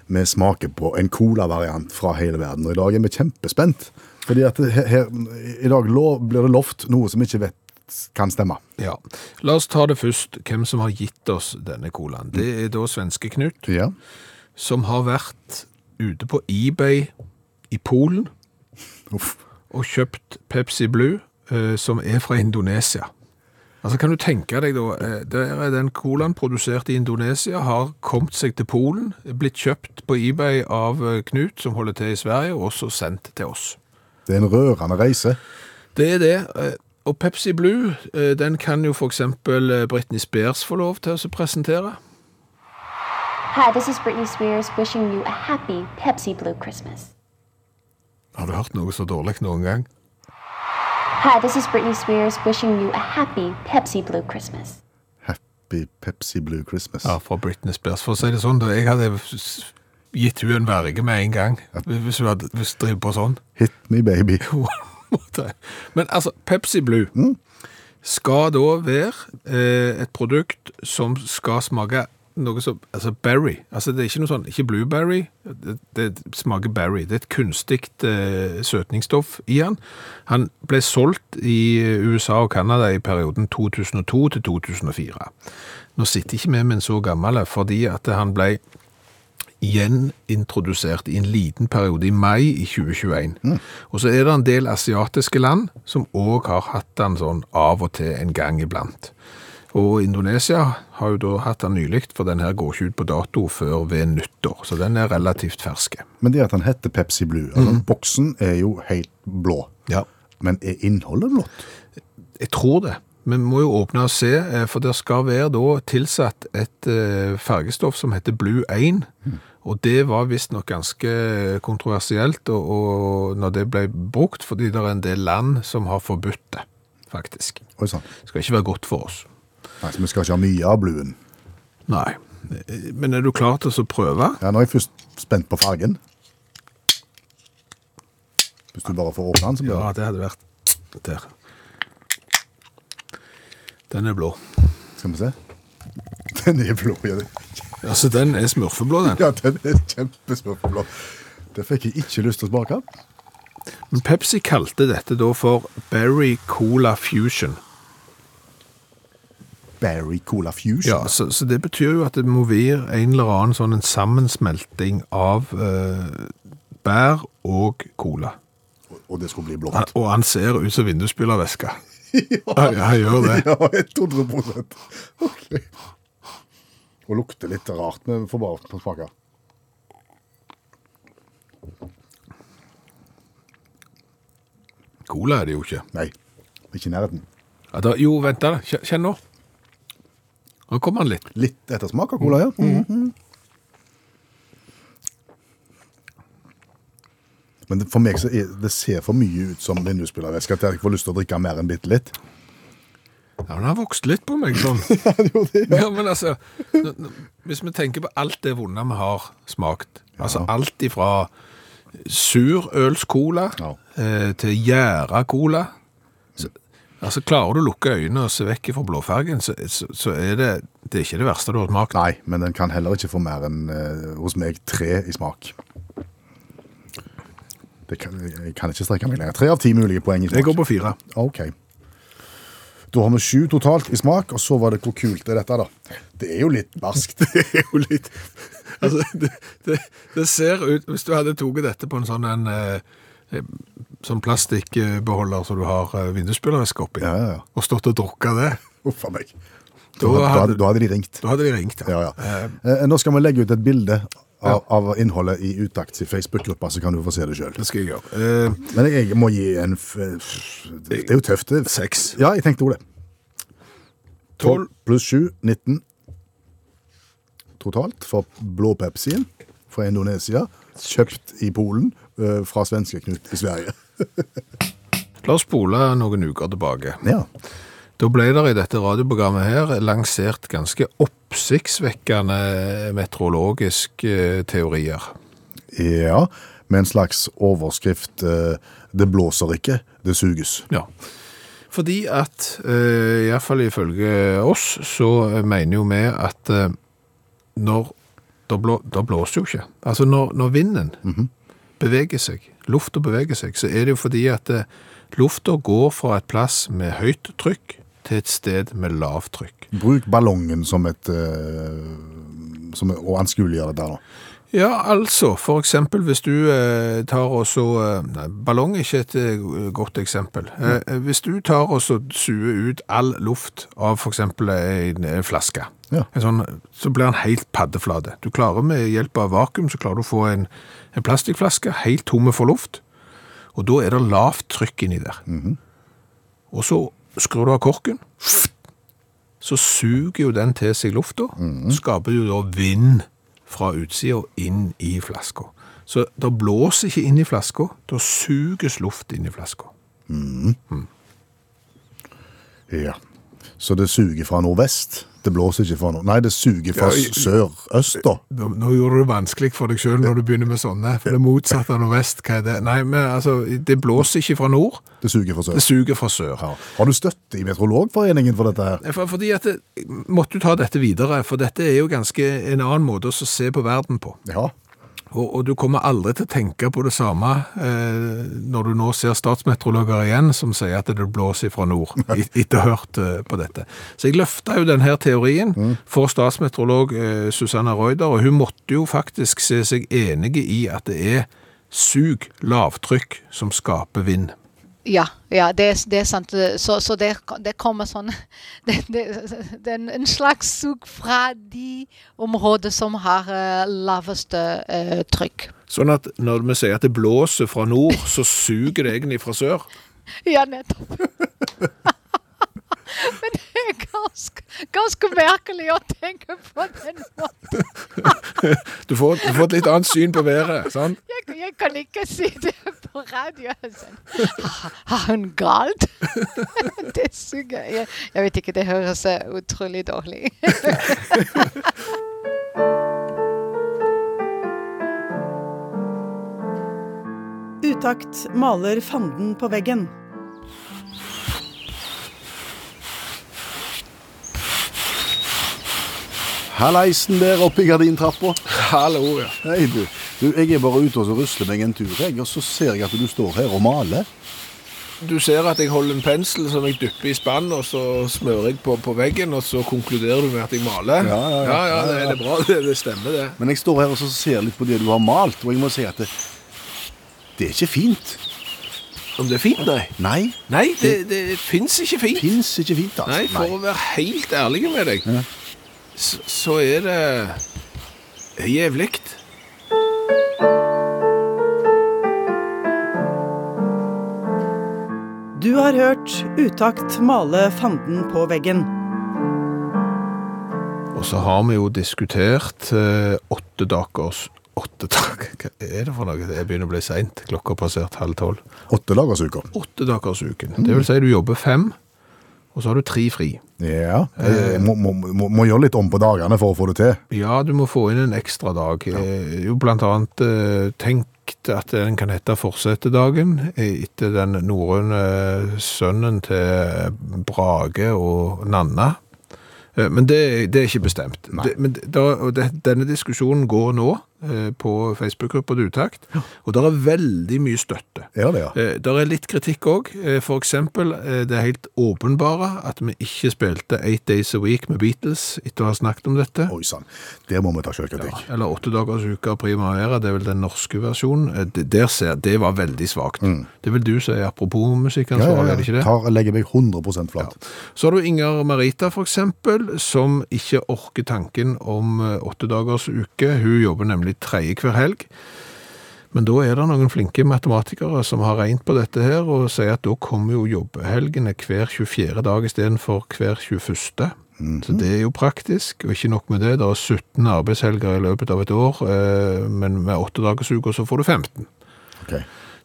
S3: Vi smaker på en colavariant fra hele verden, og i dag er vi kjempespent. Fordi at he- her, I dag lov, blir det lovt noe som vi ikke vet kan stemme.
S2: Ja. La oss ta det først, hvem som har gitt oss denne colaen. Det er da svenske Knut,
S3: Ja.
S2: som har vært ute på eBay i Polen
S3: Uff.
S2: og kjøpt Pepsi Blue, eh, som er fra Indonesia. Altså, kan du tenke deg da, eh, der er den colaen produsert i Indonesia, har kommet seg til Polen, blitt kjøpt på eBay av eh, Knut, som holder til i Sverige, og også sendt til oss.
S3: Det er en rørende reise.
S2: Det er det. eh, Og Pepsi Blue, eh, den kan jo for eksempel eh, Britney Spears få lov til å presentere.
S8: Hi, this is Britney Spears wishing you a happy Pepsi Blue Christmas.
S2: Har du hørt noe så dårlig noen gang?
S8: Hi, this is Britney Spears wishing you a happy Pepsi Blue Christmas.
S3: Happy Pepsi Blue Christmas.
S2: Ja, fra Britney Spears, for å si det sånn. da. Jeg hadde s- gitt hun en verge med en gang, hvis hun hadde hvis hun driver på sånn.
S3: Hit me baby.
S2: på en måte. Men altså, Pepsi Blue skal da være eh, et produkt som skal smake noe som, altså berry, altså det er ikke noe sånn, ikke blueberry, det, det smaker berry, det er et kunstigt eh, søtningsstoff i han. Han ble solgt i USA og Kanada i perioden 2002 til 2004. Nå sitter ikke vi med en så gammel, fordi at han ble gjenintrodusert i en liten periode i mai i 2021. Og så er det en del asiatiske land som òg har hatt den sånn av og til en gang iblant. Og Indonesia har jo da hatt den nylig, for den her går ikke ut på dato før ved nyttår. Så den er relativt ferske.
S3: Men det at han heter Pepsi Blue altså,
S2: Mhm.
S3: Boksen er jo helt blå.
S2: Ja.
S3: Men er innholdet blått?
S2: Jeg tror det. Vi må jo åpne og se, eh, for det skal være da tilsatt et eh, fargestoff som heter Blue 1. Og det var visstnok ganske kontroversielt og, og når det ble brukt, fordi det er en del land som har forbudt det, faktisk.
S3: Oi sann.
S2: Det skal ikke være godt for oss.
S3: Nei, så vi skal ikke ha mye av bluen.
S2: Nei. Eh, Men er du klar til å prøve?
S3: Ja, Nå er jeg først spent på fargen. Hvis du bare får åpne den, så blir
S2: Ja,
S3: det
S2: det hadde vært der. Den er blå.
S3: Skal vi se. Den er blå. Ja, den-
S2: Altså, den er smurfeblå, den.
S3: ja den er kjempesmørblå. Det fikk jeg ikke lyst til å smake.
S2: Men Pepsi kalte dette da for Berry Cola Fusion.
S3: Berry Cola Fusion.
S2: Ja, så, så det betyr jo at det må være en eller annen sånn en sammensmelting av eh, bær og cola.
S3: Og det skulle bli
S2: Han,
S3: blått.
S2: og han ser ut som vindusspylervæske. ja, jeg gjør det.
S3: Ja, 100 Ok. Og lukter litt rart, men vi får bare smake.
S2: Cola er det jo ikke.
S3: Nei, ikke i nærheten.
S2: Ja, da, jo, vent da. Kj- Kjenn nå. Nå kommer han litt.
S3: Litt ettersmak av cola, ja.
S2: Mm.
S3: Mhm. Men det, for meg så er, det ser for mye ut som vindusspillervæske at jeg ikke får lyst til å drikke mer enn bitte litt.
S2: Ja, men han vokste litt på meg sånn. ja, ja. men altså, n- n- hvis vi tenker på alt det vonde vi har smakt, altså alt ifra surølscola
S3: Ja.
S2: eh, til gjæra-cola, så- altså klarer du å lukke øynene og se vekk fra blåfargen, så, så, så er det, det er ikke det verste du har smakt.
S3: Nei, men den kan heller ikke få mer enn eh, hos meg tre i smak. Det kan, jeg kan ikke strekke meg lenger. Tre av ti mulige poeng i smak.
S2: Jeg går på fire.
S3: Ok. Da har vi sju totalt i smak, og så var det hvor kult er dette, da. Det er jo litt barskt.
S2: Det er jo litt Altså, det, det, det ser ut Hvis du hadde tatt dette på en sånn en eh, eh, Sånn plastikkbeholder som du har eh, vindusspylervæske oppi,
S3: Ja, ja, ja.
S2: og stått og drukket det
S3: Uff a meg. Da,
S2: Da
S3: hadde,
S2: hadde-
S3: da hadde de ringt.
S2: Da hadde de ringt,
S3: Ja, ja. Eh, Nå skal vi legge ut et bilde av, av innholdet i Utakts Facebook-gruppa, så kan du få se det sjøl.
S2: Det skal jeg gjøre. Eh,
S3: Men jeg må gi en f f- Det er jo tøft, det.
S2: Seks.
S3: Ja, jeg tenkte òg det.
S2: Tolv.
S3: 12 pluss 7, 19 totalt for blå Pepsien fra Indonesia. Kjøpt i Polen eh, fra svenske Knut i Sverige.
S2: La oss spole noen uker tilbake.
S3: Ja.
S2: Da ble det i dette radioprogrammet her lansert ganske oppsiktsvekkende meteorologiske eh, teorier.
S3: Ja, med en slags overskrift eh, 'Det blåser ikke, det suges'.
S2: Ja. Fordi at, eh, i hvert fall ifølge oss, så eh, mener jo vi at eh, når Da, blå, da blåser jo ikke. Altså, når, når vinden beveger seg, lufta beveger seg, så er det jo fordi at eh, lufta går fra et plass med høyt trykk til et sted med lavt trykk.
S3: Bruk ballongen som et eh, som, Og anskueliggjør det der, da.
S2: Ja, altså, for eksempel hvis du eh, tar og så eh, Nei, ballong er ikke et eh, godt eksempel. Eh, eh, hvis du tar og så suger ut all luft av for eksempel en, en flaske,
S3: Ja.
S2: en sånn, så blir den helt paddeflate. Du klarer med hjelp av vakuum, så klarer du å få en, en plastikkflaske helt tomme for luft, og da er det lavt trykk inni der. Og så skrur du av korken, så suger jo den til seg lufta, skaper jo da vind fra utsida inn i flaska. Så det blåser ikke inn i flaska, da suges luft inn i flaska.
S3: Ja. Så det suger fra nordvest. Det blåser ikke fra nord... Nei, det suger fra
S2: Ja, i-
S3: sørøst, da.
S2: Nå, nå gjorde du det vanskelig for deg sjøl når du begynner med sånne, for det motsatte av nordvest, hva er det? Nei, men altså, det blåser ikke fra nord,
S3: Det suger fra
S2: det
S3: sør.
S2: suger fra sør.
S3: Ja. Har du støtte i Meteorologforeningen for dette her?
S2: For, fordi at det, Måtte du ta dette videre, for dette er jo ganske en annen måte å se på verden på.
S3: Ja.
S2: Og, og du kommer aldri til å tenke på det samme eh, når du nå ser statsmeteorologer igjen som sier at det blåser fra nord, et- etter å ha hørt eh, på dette. Så jeg løfta jo denne teorien for statsmeteorolog eh, Susanna Reuter, og hun måtte jo faktisk se seg enige i at det er sug, lavtrykk, som skaper vind.
S9: Ja, ja det, er- det er sant. Så, så det, det kommer sånn det, det, det er en- en slags sug fra de områder som har eh, laveste eh, trykk.
S2: Sånn at når vi sier at det blåser fra nord, så suger det egentlig fra sør.
S9: Ja, nettopp. Men det er ganske, ganske merkelig å tenke på den måten.
S2: Du får, du får et litt annet syn på været, sant?
S9: Jeg, jeg kan ikke si det på radio. Sånn. Har- Har hun galt? Det suger. Jeg, jeg vet ikke, det høres eh, utrolig dårlig
S10: Utakt maler fanden på veggen.
S3: Halleisen der oppe i gardintrappa.
S2: Hallo, ja.
S3: Hei, du. du. Jeg er bare ute og så rusler meg en tur, jeg, og så ser jeg at du står her og maler.
S2: Du ser at jeg holder en pensel som jeg dypper i spann, og så smører jeg på, på veggen, og så konkluderer du med at jeg maler.
S3: Ja, ja, ja.
S2: det, det er bra. Det, det stemmer, det.
S3: Men jeg står her og så ser litt på det du har malt, og jeg må si at det, det er ikke fint.
S2: Om det er fint, nei?
S3: Nei,
S2: Nei, det, det fins ikke fint.
S3: fins ikke fint, altså.
S2: Nei, for å være helt ærlig med deg, så, så er det jævlig.
S10: Du har hørt Utakt male fanden på veggen.
S2: Og så har vi jo diskutert eh, åtte dagers Åtte dager? Hva er det for noe? Det begynner å bli seint. Klokka har passert halv tolv.
S3: Åtte dagersuker.
S2: Åtte dagers uken. Det vil si du jobber fem, og så har du tre fri.
S3: Ja. Jeg må, må, må, må gjøre litt om på dagene for å få det til.
S2: Ja, du må få inn en ekstra dag. Eh, Jo, blant annet eh, tenkt at den kan hette Fortsettedagen, eh, etter den norrøne sønnen til Brage og Nanna. Eh, Men det, det er ikke bestemt. Det, men da, og det, denne diskusjonen går nå eh, på Facebook-gruppa til Utakt, og det er veldig mye støtte.
S3: Er det, ja?
S2: Det er litt kritikk òg. For eksempel eh, det er helt åpenbare at vi ikke spilte Eight Days a Week med Beatles etter å ha snakket om dette.
S3: Oi sann. Der må vi ta sjølkritikk.
S2: Eller åtte dagers uke av Primavera, det er vel den norske versjonen. Eh, Det, der ser, jeg- det var veldig svagt. Det vil du si, apropos musikkansvarlig, er det ikke det?
S3: Tar, legger meg 100 flat.
S2: Så har du Inger Marita, for eksempel, som ikke orker tanken om eh, åtte dagers uke. Hun jobber nemlig tredje hver helg. Men da er det noen flinke matematikere som har regnet på dette her, og sier at da kommer jo jobbehelgene hver 24. dag istedenfor hver 21. Så det er jo praktisk, og ikke nok med det. Det er 17 arbeidshelger i løpet av et år, eh, men med åtte dagers uke så får du 15.
S3: Ok.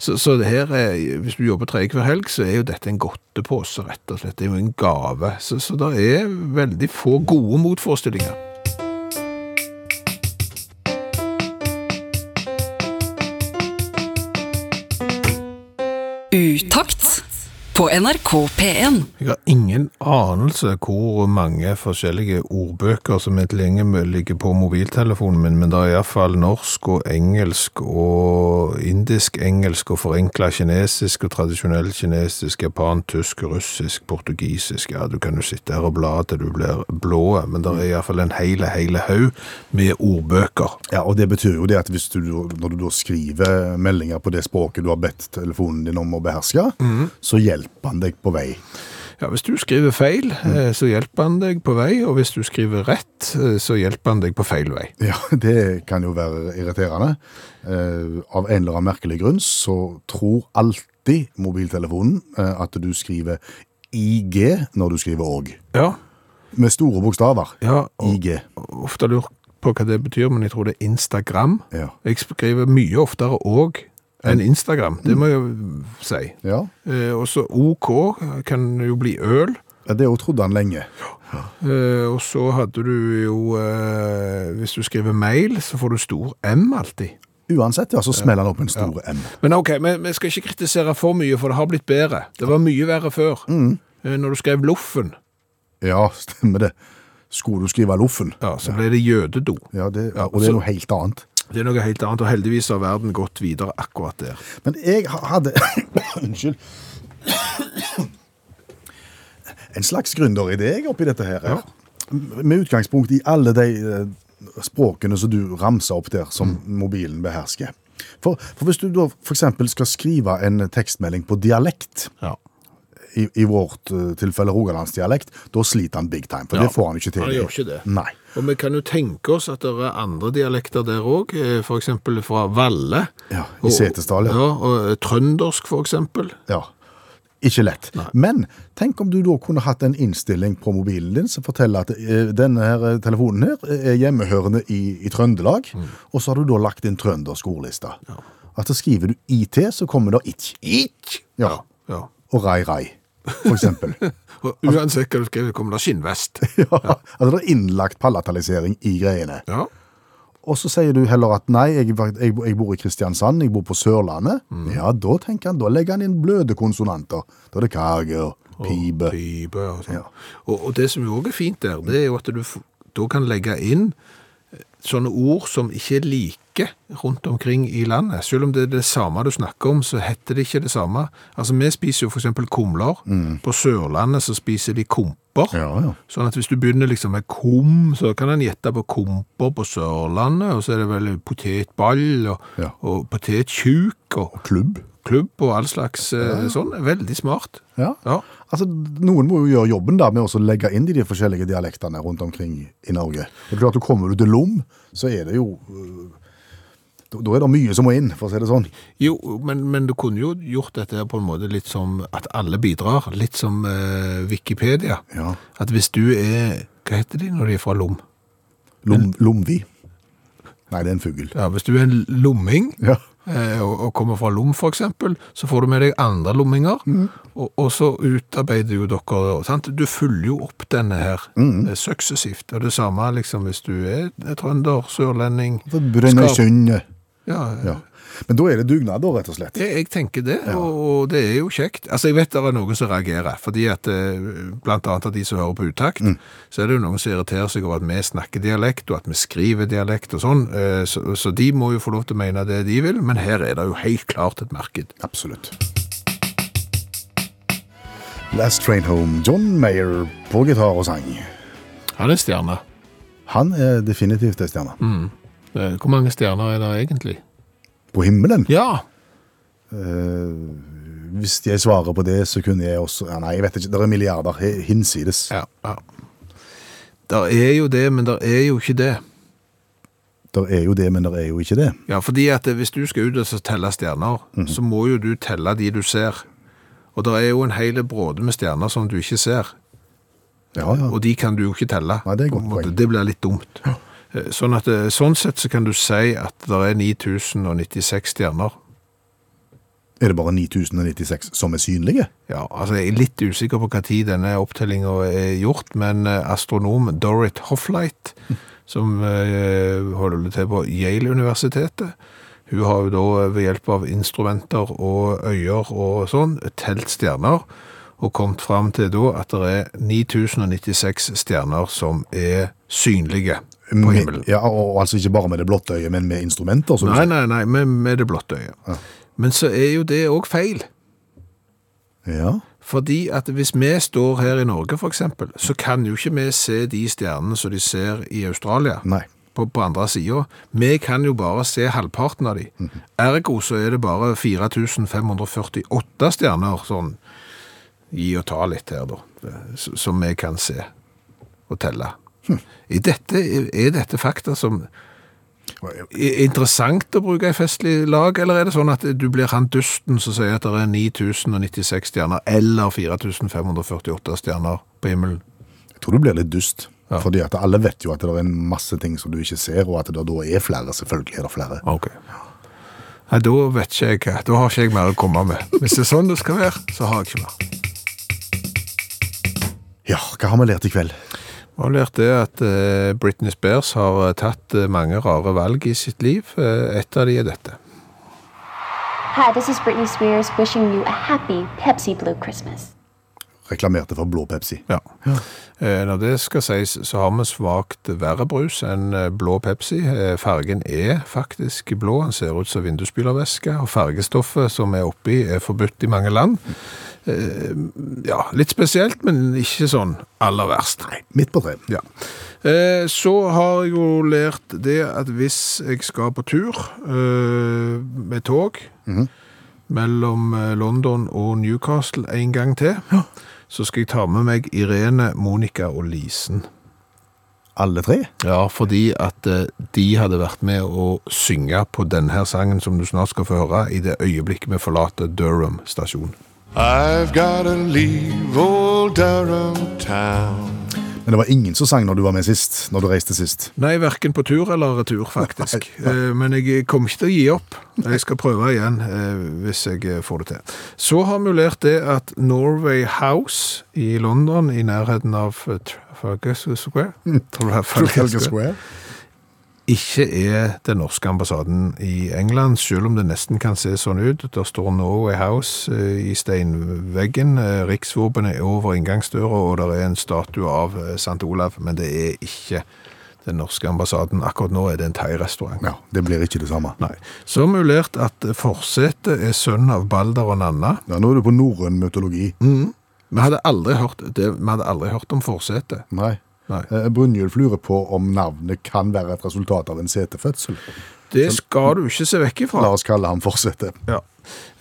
S2: Så, så det her er, hvis du jobber tredje hver helg, så er jo dette en godtepose, rett og slett. Det er jo en gave. Så, så det er veldig få gode motforestillinger.
S1: Utakt på NRK P1.
S2: Jeg har ingen anelse hvor mange forskjellige ordbøker som er tilgjengelig ligger på mobiltelefonen min, men det er iallfall norsk og engelsk og indisk-engelsk og forenkla kinesisk og tradisjonell kinesisk, japan, tysk, russisk, portugisisk Ja, du kan jo sitte her og bla til du blir blå, men det er iallfall en hele, hele haug med ordbøker.
S3: Ja, og Det betyr jo det at hvis du, når du da skriver meldinger på det språket du har bedt telefonen din om å beherske, så hjelper han deg på vei.
S2: Ja, Hvis du skriver feil, eh, så hjelper han deg på vei, og hvis du skriver rett, eh, så hjelper han deg på feil vei.
S3: Ja, Det kan jo være irriterende. Eh, av en eller annen merkelig grunn så tror alltid mobiltelefonen eh, at du skriver IG når du skriver OG.
S2: Ja,
S3: Med store bokstaver.
S2: ja og
S3: IG.
S2: ofte lurt på hva det betyr, men jeg tror det er Instagram.
S3: Ja.
S2: Jeg skriver mye oftere og enn Instagram, det må jeg jo si.
S3: ja.
S2: Eh, også OK kan jo bli øl.
S3: Ja, Det jo trodde han lenge.
S2: Eh, og så hadde du jo eh, Hvis du skriver mail, så får du stor M alltid.
S3: Uansett, ja, så smeller han opp en stor M.
S2: Men ok, men vi skal ikke kritisere for mye, for det har blitt bedre. Det var mye verre før. Eh, Når du skrev loffen,
S3: Ja, stemmer det. Skulle du skrive Loffen?
S2: ja, så ble det jødedo.
S3: Ja, det,
S2: Ja,
S3: og
S2: så-
S3: det er noe helt annet.
S2: Det er noe helt annet, og heldigvis har verden gått videre akkurat der.
S3: Men jeg ha- hadde Unnskyld. en slags gründeridé jeg, oppi dette her.
S2: Ja.
S3: Med
S2: Mm.
S3: utgangspunkt i alle de eh, språkene som du ramsa opp der, som mobilen behersker. For, for hvis du da f.eks. skal skrive en tekstmelding på dialekt, i, i vårt eh, tilfelle rogalandsdialekt, da sliter han big time. For
S2: Ja.
S3: det får han ikke til.
S2: Han gjør ikke det.
S3: Nei.
S2: Og vi kan jo tenke oss at det er andre dialekter der òg, f.eks. fra Valle.
S3: Ja, I
S2: Og-
S3: Setesdal, ja.
S2: Ja, og eh, trøndersk, f.eks.
S3: ja. Ikke lett. Men tenk om du da kunne hatt en innstilling på mobilen din som forteller at eh, denne her eh, telefonen her er hjemmehørende i, i Trøndelag, og så har du da lagt inn trøndersk ordliste. At så skriver du IT, så kommer det itj. Itj! Ja.
S2: Ja.
S3: Og rai rai, for eksempel.
S2: Og uansett hva du skriver, kommer det skinnvest.
S3: ja. Altså det er innlagt palatalisering i greiene.
S2: Ja.
S3: Og så sier du heller at nei, jeg, jeg, jeg bor i Kristiansand, jeg bor på Sørlandet. Ja, da tenker han, da legger han inn bløde konsonanter. Da er det karge og pibe.
S2: Pipe og sånn. Og, og det som jo òg er fint der, det er jo at du f- da kan legge inn eh, sånne ord som ikke er like rundt omkring i landet. Selv om det er det samme du snakker om, så heter det ikke det samme. Altså, vi spiser jo for eksempel kumler. På Sørlandet så spiser de komper. Sånn at hvis du begynner liksom med kom, så kan en gjette på komper på Sørlandet, og så er det vel potetball og, og potetkjuk og
S3: Klubb.
S2: Klubb og all slags eh, sånn. Veldig smart.
S3: Ja. Altså, noen må jo gjøre jobben da med å legge inn de, de forskjellige dialektene rundt omkring i Norge. Det er klart, du kommer du til Lom, så er det jo øh, Da da er det mye som må inn, for å si det sånn.
S2: Jo, men, men du kunne jo gjort dette her på en måte litt som at alle bidrar, litt som eh, Wikipedia.
S3: Ja.
S2: At hvis du er, hva heter de når de er fra Lom?
S3: Lom, Lomvi. Nei, det er en fugl.
S2: Ja, hvis du er en lomming,
S3: Ja.
S2: eh, og, og kommer fra Lom for eksempel, så får du med deg andre lomminger, og, og så utarbeider jo dere, sant? Du følger jo opp denne her, mm. suksessivt, og det samme liksom hvis du er trønder, sørlending, skar-
S3: Brønnøysund.
S2: Ja, ja.
S3: Ja. Men da er det dugnad, da, rett og slett.
S2: Jeg, jeg tenker det, og, og det er jo kjekt. Altså, Jeg vet det er noen som reagerer, fordi at eh, blant annet av de som hører på utakt, så er det jo noen som irriterer seg over at vi snakker dialekt, og at vi skriver dialekt og sånn, eh, så, så de må jo få lov til å mene det de vil, men her er det jo helt klart et marked.
S3: Absolutt. Last Train Home, John Mayer på gitar og sang.
S2: Han er stjerne.
S3: Han er definitivt en stjerne.
S2: Eh, Hvor mange stjerner er det egentlig?
S3: På himmelen?
S2: Ja!
S3: Eh, hvis jeg svarer på det, så kunne jeg også ja, Nei, jeg vet ikke. Det er milliarder he- hinsides.
S2: ja, ja. Der er jo det, men der er jo ikke det.
S3: Der er jo det, men der er jo ikke det.
S2: Ja, fordi at eh, hvis du skal ut og så telle stjerner,
S3: Mhm.
S2: så må jo du telle de du ser. Og det er jo en hele bråde med stjerner som du ikke ser,
S3: Ja, ja.
S2: og de kan du jo ikke telle.
S3: Nei, det er et
S2: På en
S3: godt
S2: måte.
S3: poeng.
S2: Det blir litt dumt. Eh, Sånn, at, eh, sånn sett så kan du si at det er 9096 stjerner.
S3: Er det bare 9096 som er synlige?
S2: Ja, altså jeg er litt usikker på hva tid denne opptellingen er gjort, men eh, astronom Dorrit Hoffleit, som eh, holder til på Yale-universitetet, hun har jo da eh, ved hjelp av instrumenter og øyer og sånn, telt stjerner, og kommet frem til da at det er 9096 stjerner som er synlige på
S3: Med-
S2: himmelen.
S3: Ja, og, og altså ikke bare med det blotte øyet, men med instrumenter. som du
S2: Nei,
S3: sier.
S2: nei, nei, med, med det blotte øyet. Men så er jo det også feil.
S3: Ja.
S2: Fordi at hvis vi står her i Norge for eksempel, så kan jo ikke vi se de stjernene som de ser i Australia
S3: Nei.
S2: på, på andre siden. Vi kan jo bare se halvparten av de. Ergo så er det bare 4548 stjerner, sånn, gi og ta litt her da, s- som vi kan se og telle. Er dette, er dette fakta som er interessant å bruke i festlig lag, eller er det sånn at du blir han dusten som sier at det er 9096 stjerner, eller 4548 stjerner på himmelen?
S3: Jeg tror du blir litt dust.
S2: Ja.
S3: Fordi at alle vet jo at det er en masse ting som du ikke ser, og at det da er flere. Selvfølgelig er det flere.
S2: Ok. Nei, da vet ikke jeg hva. Da har ikke jeg mer å komme med. Hvis det er sånn det skal være, så har jeg ikke mer.
S3: Ja, hva har vi lært i kveld?
S2: Jeg har lært det at eh, Britney Spears har eh, tatt eh, mange rare valg i sitt liv. Eh, Et av de er dette.
S8: Hi, this is Britney Spears wishing you a happy Pepsi Blue Christmas.
S3: reklamerte for blå Pepsi.
S2: Ja. Eh, Når det skal sies, så har vi svakt verre brus enn eh, blå Pepsi. Eh, Fargen er faktisk blå, den ser ut som vindusspylervæske, og fargestoffet som er oppi er forbudt i mange land. Eh, Ja, litt spesielt, men ikke sånn aller verst. Nei.
S3: Midt på treet.
S2: Ja. Eh, Så har jeg jo lært det at hvis jeg skal på tur eh, med tog mellom eh, London og Newcastle en gang til, så skal jeg ta med meg Irene, Monica og Lisen.
S3: Alle tre?
S2: Ja, fordi at eh, de hadde vært med å synge på denne sangen som du snart skal få høre i det øyeblikket vi forlater Durham stasjon.
S5: I've gotta leave old Durham town.
S3: Men det var ingen som sang når du var med sist, når du reiste sist.
S2: Nei, hverken på tur eller retur, faktisk. Eh, Men jeg kommer ikke til å gi opp. Jeg skal prøve igjen eh, hvis jeg eh, får det til. Så har vi jo lært det at Norway House i London, i nærheten av eh, Trafalgar Square, Trafalgar
S3: Trafalgar
S2: Square
S3: Square.
S2: ikke er den norske ambassaden i England, selv om det nesten kan se sånn ut. Der står Norway House eh, i steinveggen, eh, riksvåpenet er over inngangsdøra, og der er en statue av eh, St. Olav, men det er ikke den norske ambassaden. Akkurat nå er det en thai-restaurant.
S3: Ja, det blir ikke det samme.
S2: Nei. Så har vi jo lært at Forsetet er sønn av Balder og Nanna.
S3: Ja, nå er du på norrøn mytologi.
S2: Vi hadde aldri hørt, det, vi hadde aldri hørt om Forsetet.
S3: Nei.
S2: Nei.
S3: Eh, Brynjulf lurer på om navnet kan være et resultat av en setefødsel.
S2: Det skal du ikke se vekk ifra.
S3: La oss kalle ham Forsete.
S2: Ja.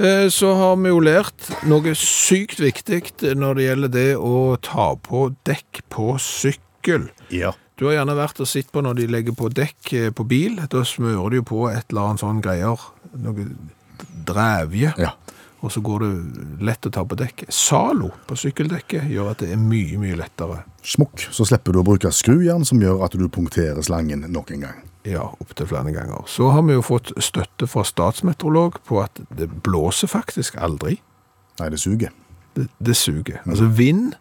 S2: Eh, Så har vi jo lært noe sykt viktig når det gjelder det å ta på dekk på sykkel.
S3: Ja.
S2: Du har gjerne vært og sett på når de legger på dekk eh, på bil. Da smører de jo på et eller annet sånn greier, noe drevje,
S3: Ja.
S2: og så går det lett å ta på dekk. Zalo på sykkeldekket gjør at det er mye, mye lettere.
S3: Smokk, så slipper du å bruke skrujern som gjør at du punkterer slangen nok en gang.
S2: Ja, opptil flere ganger. Så har vi jo fått støtte fra statsmeteorolog på at det blåser faktisk aldri.
S3: Nei, det suger.
S2: det, det suger. Altså vind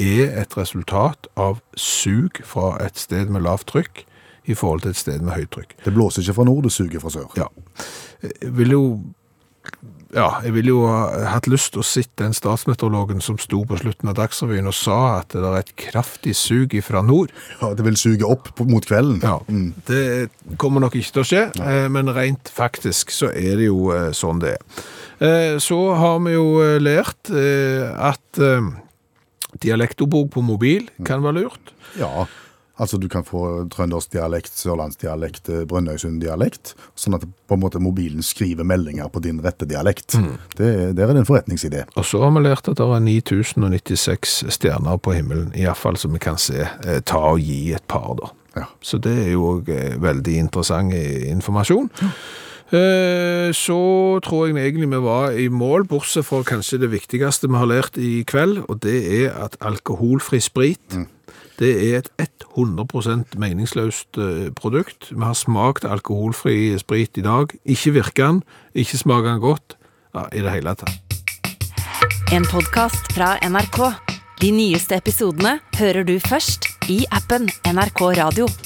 S2: er et resultat av sug fra et sted med lavt trykk i forhold til et sted med høyt trykk.
S3: Det blåser ikke fra nord, det suger fra sør.
S2: Ja. Jeg ville jo ja, jeg ville jo ha hatt lyst til å sitte den statsmeteorologen som sto på slutten av Dagsrevyen og sa at det er et kraftig sug fra nord.
S3: Ja, det vil suge opp på- mot kvelden. Mm.
S2: Ja, Det kommer nok ikke til å skje, eh, men rent faktisk så er det jo eh, sånn det er. Eh, Så har vi jo eh, lært eh, at eh, dialektobok på mobil kan være lurt.
S3: Ja, altså du kan få trøndersdialekt, sørlandsdialekt, eh, Brønnøysunddialekt, sånn at på en måte mobilen skriver meldinger på din rette dialekt. Det, der er det en forretningsidé.
S2: Og så har vi lært at det er 9096 stjerner på himmelen, iallfall som vi kan se. eh, Ta og gi et par, da.
S3: Ja.
S2: Så det er jo òg veldig interessant eh, informasjon. Eh, Så tror jeg egentlig vi var i mål, bortsett fra kanskje det viktigste vi har lært i kveld, og det er at alkoholfri sprit det er et 100 meningsløst eh, produkt. Vi har smakt alkoholfri sprit i dag. Ikke virker den, ikke smaker den godt ja, i det hele tatt.
S1: En podkast fra NRK. De nyeste episodene hører du først i appen NRK Radio.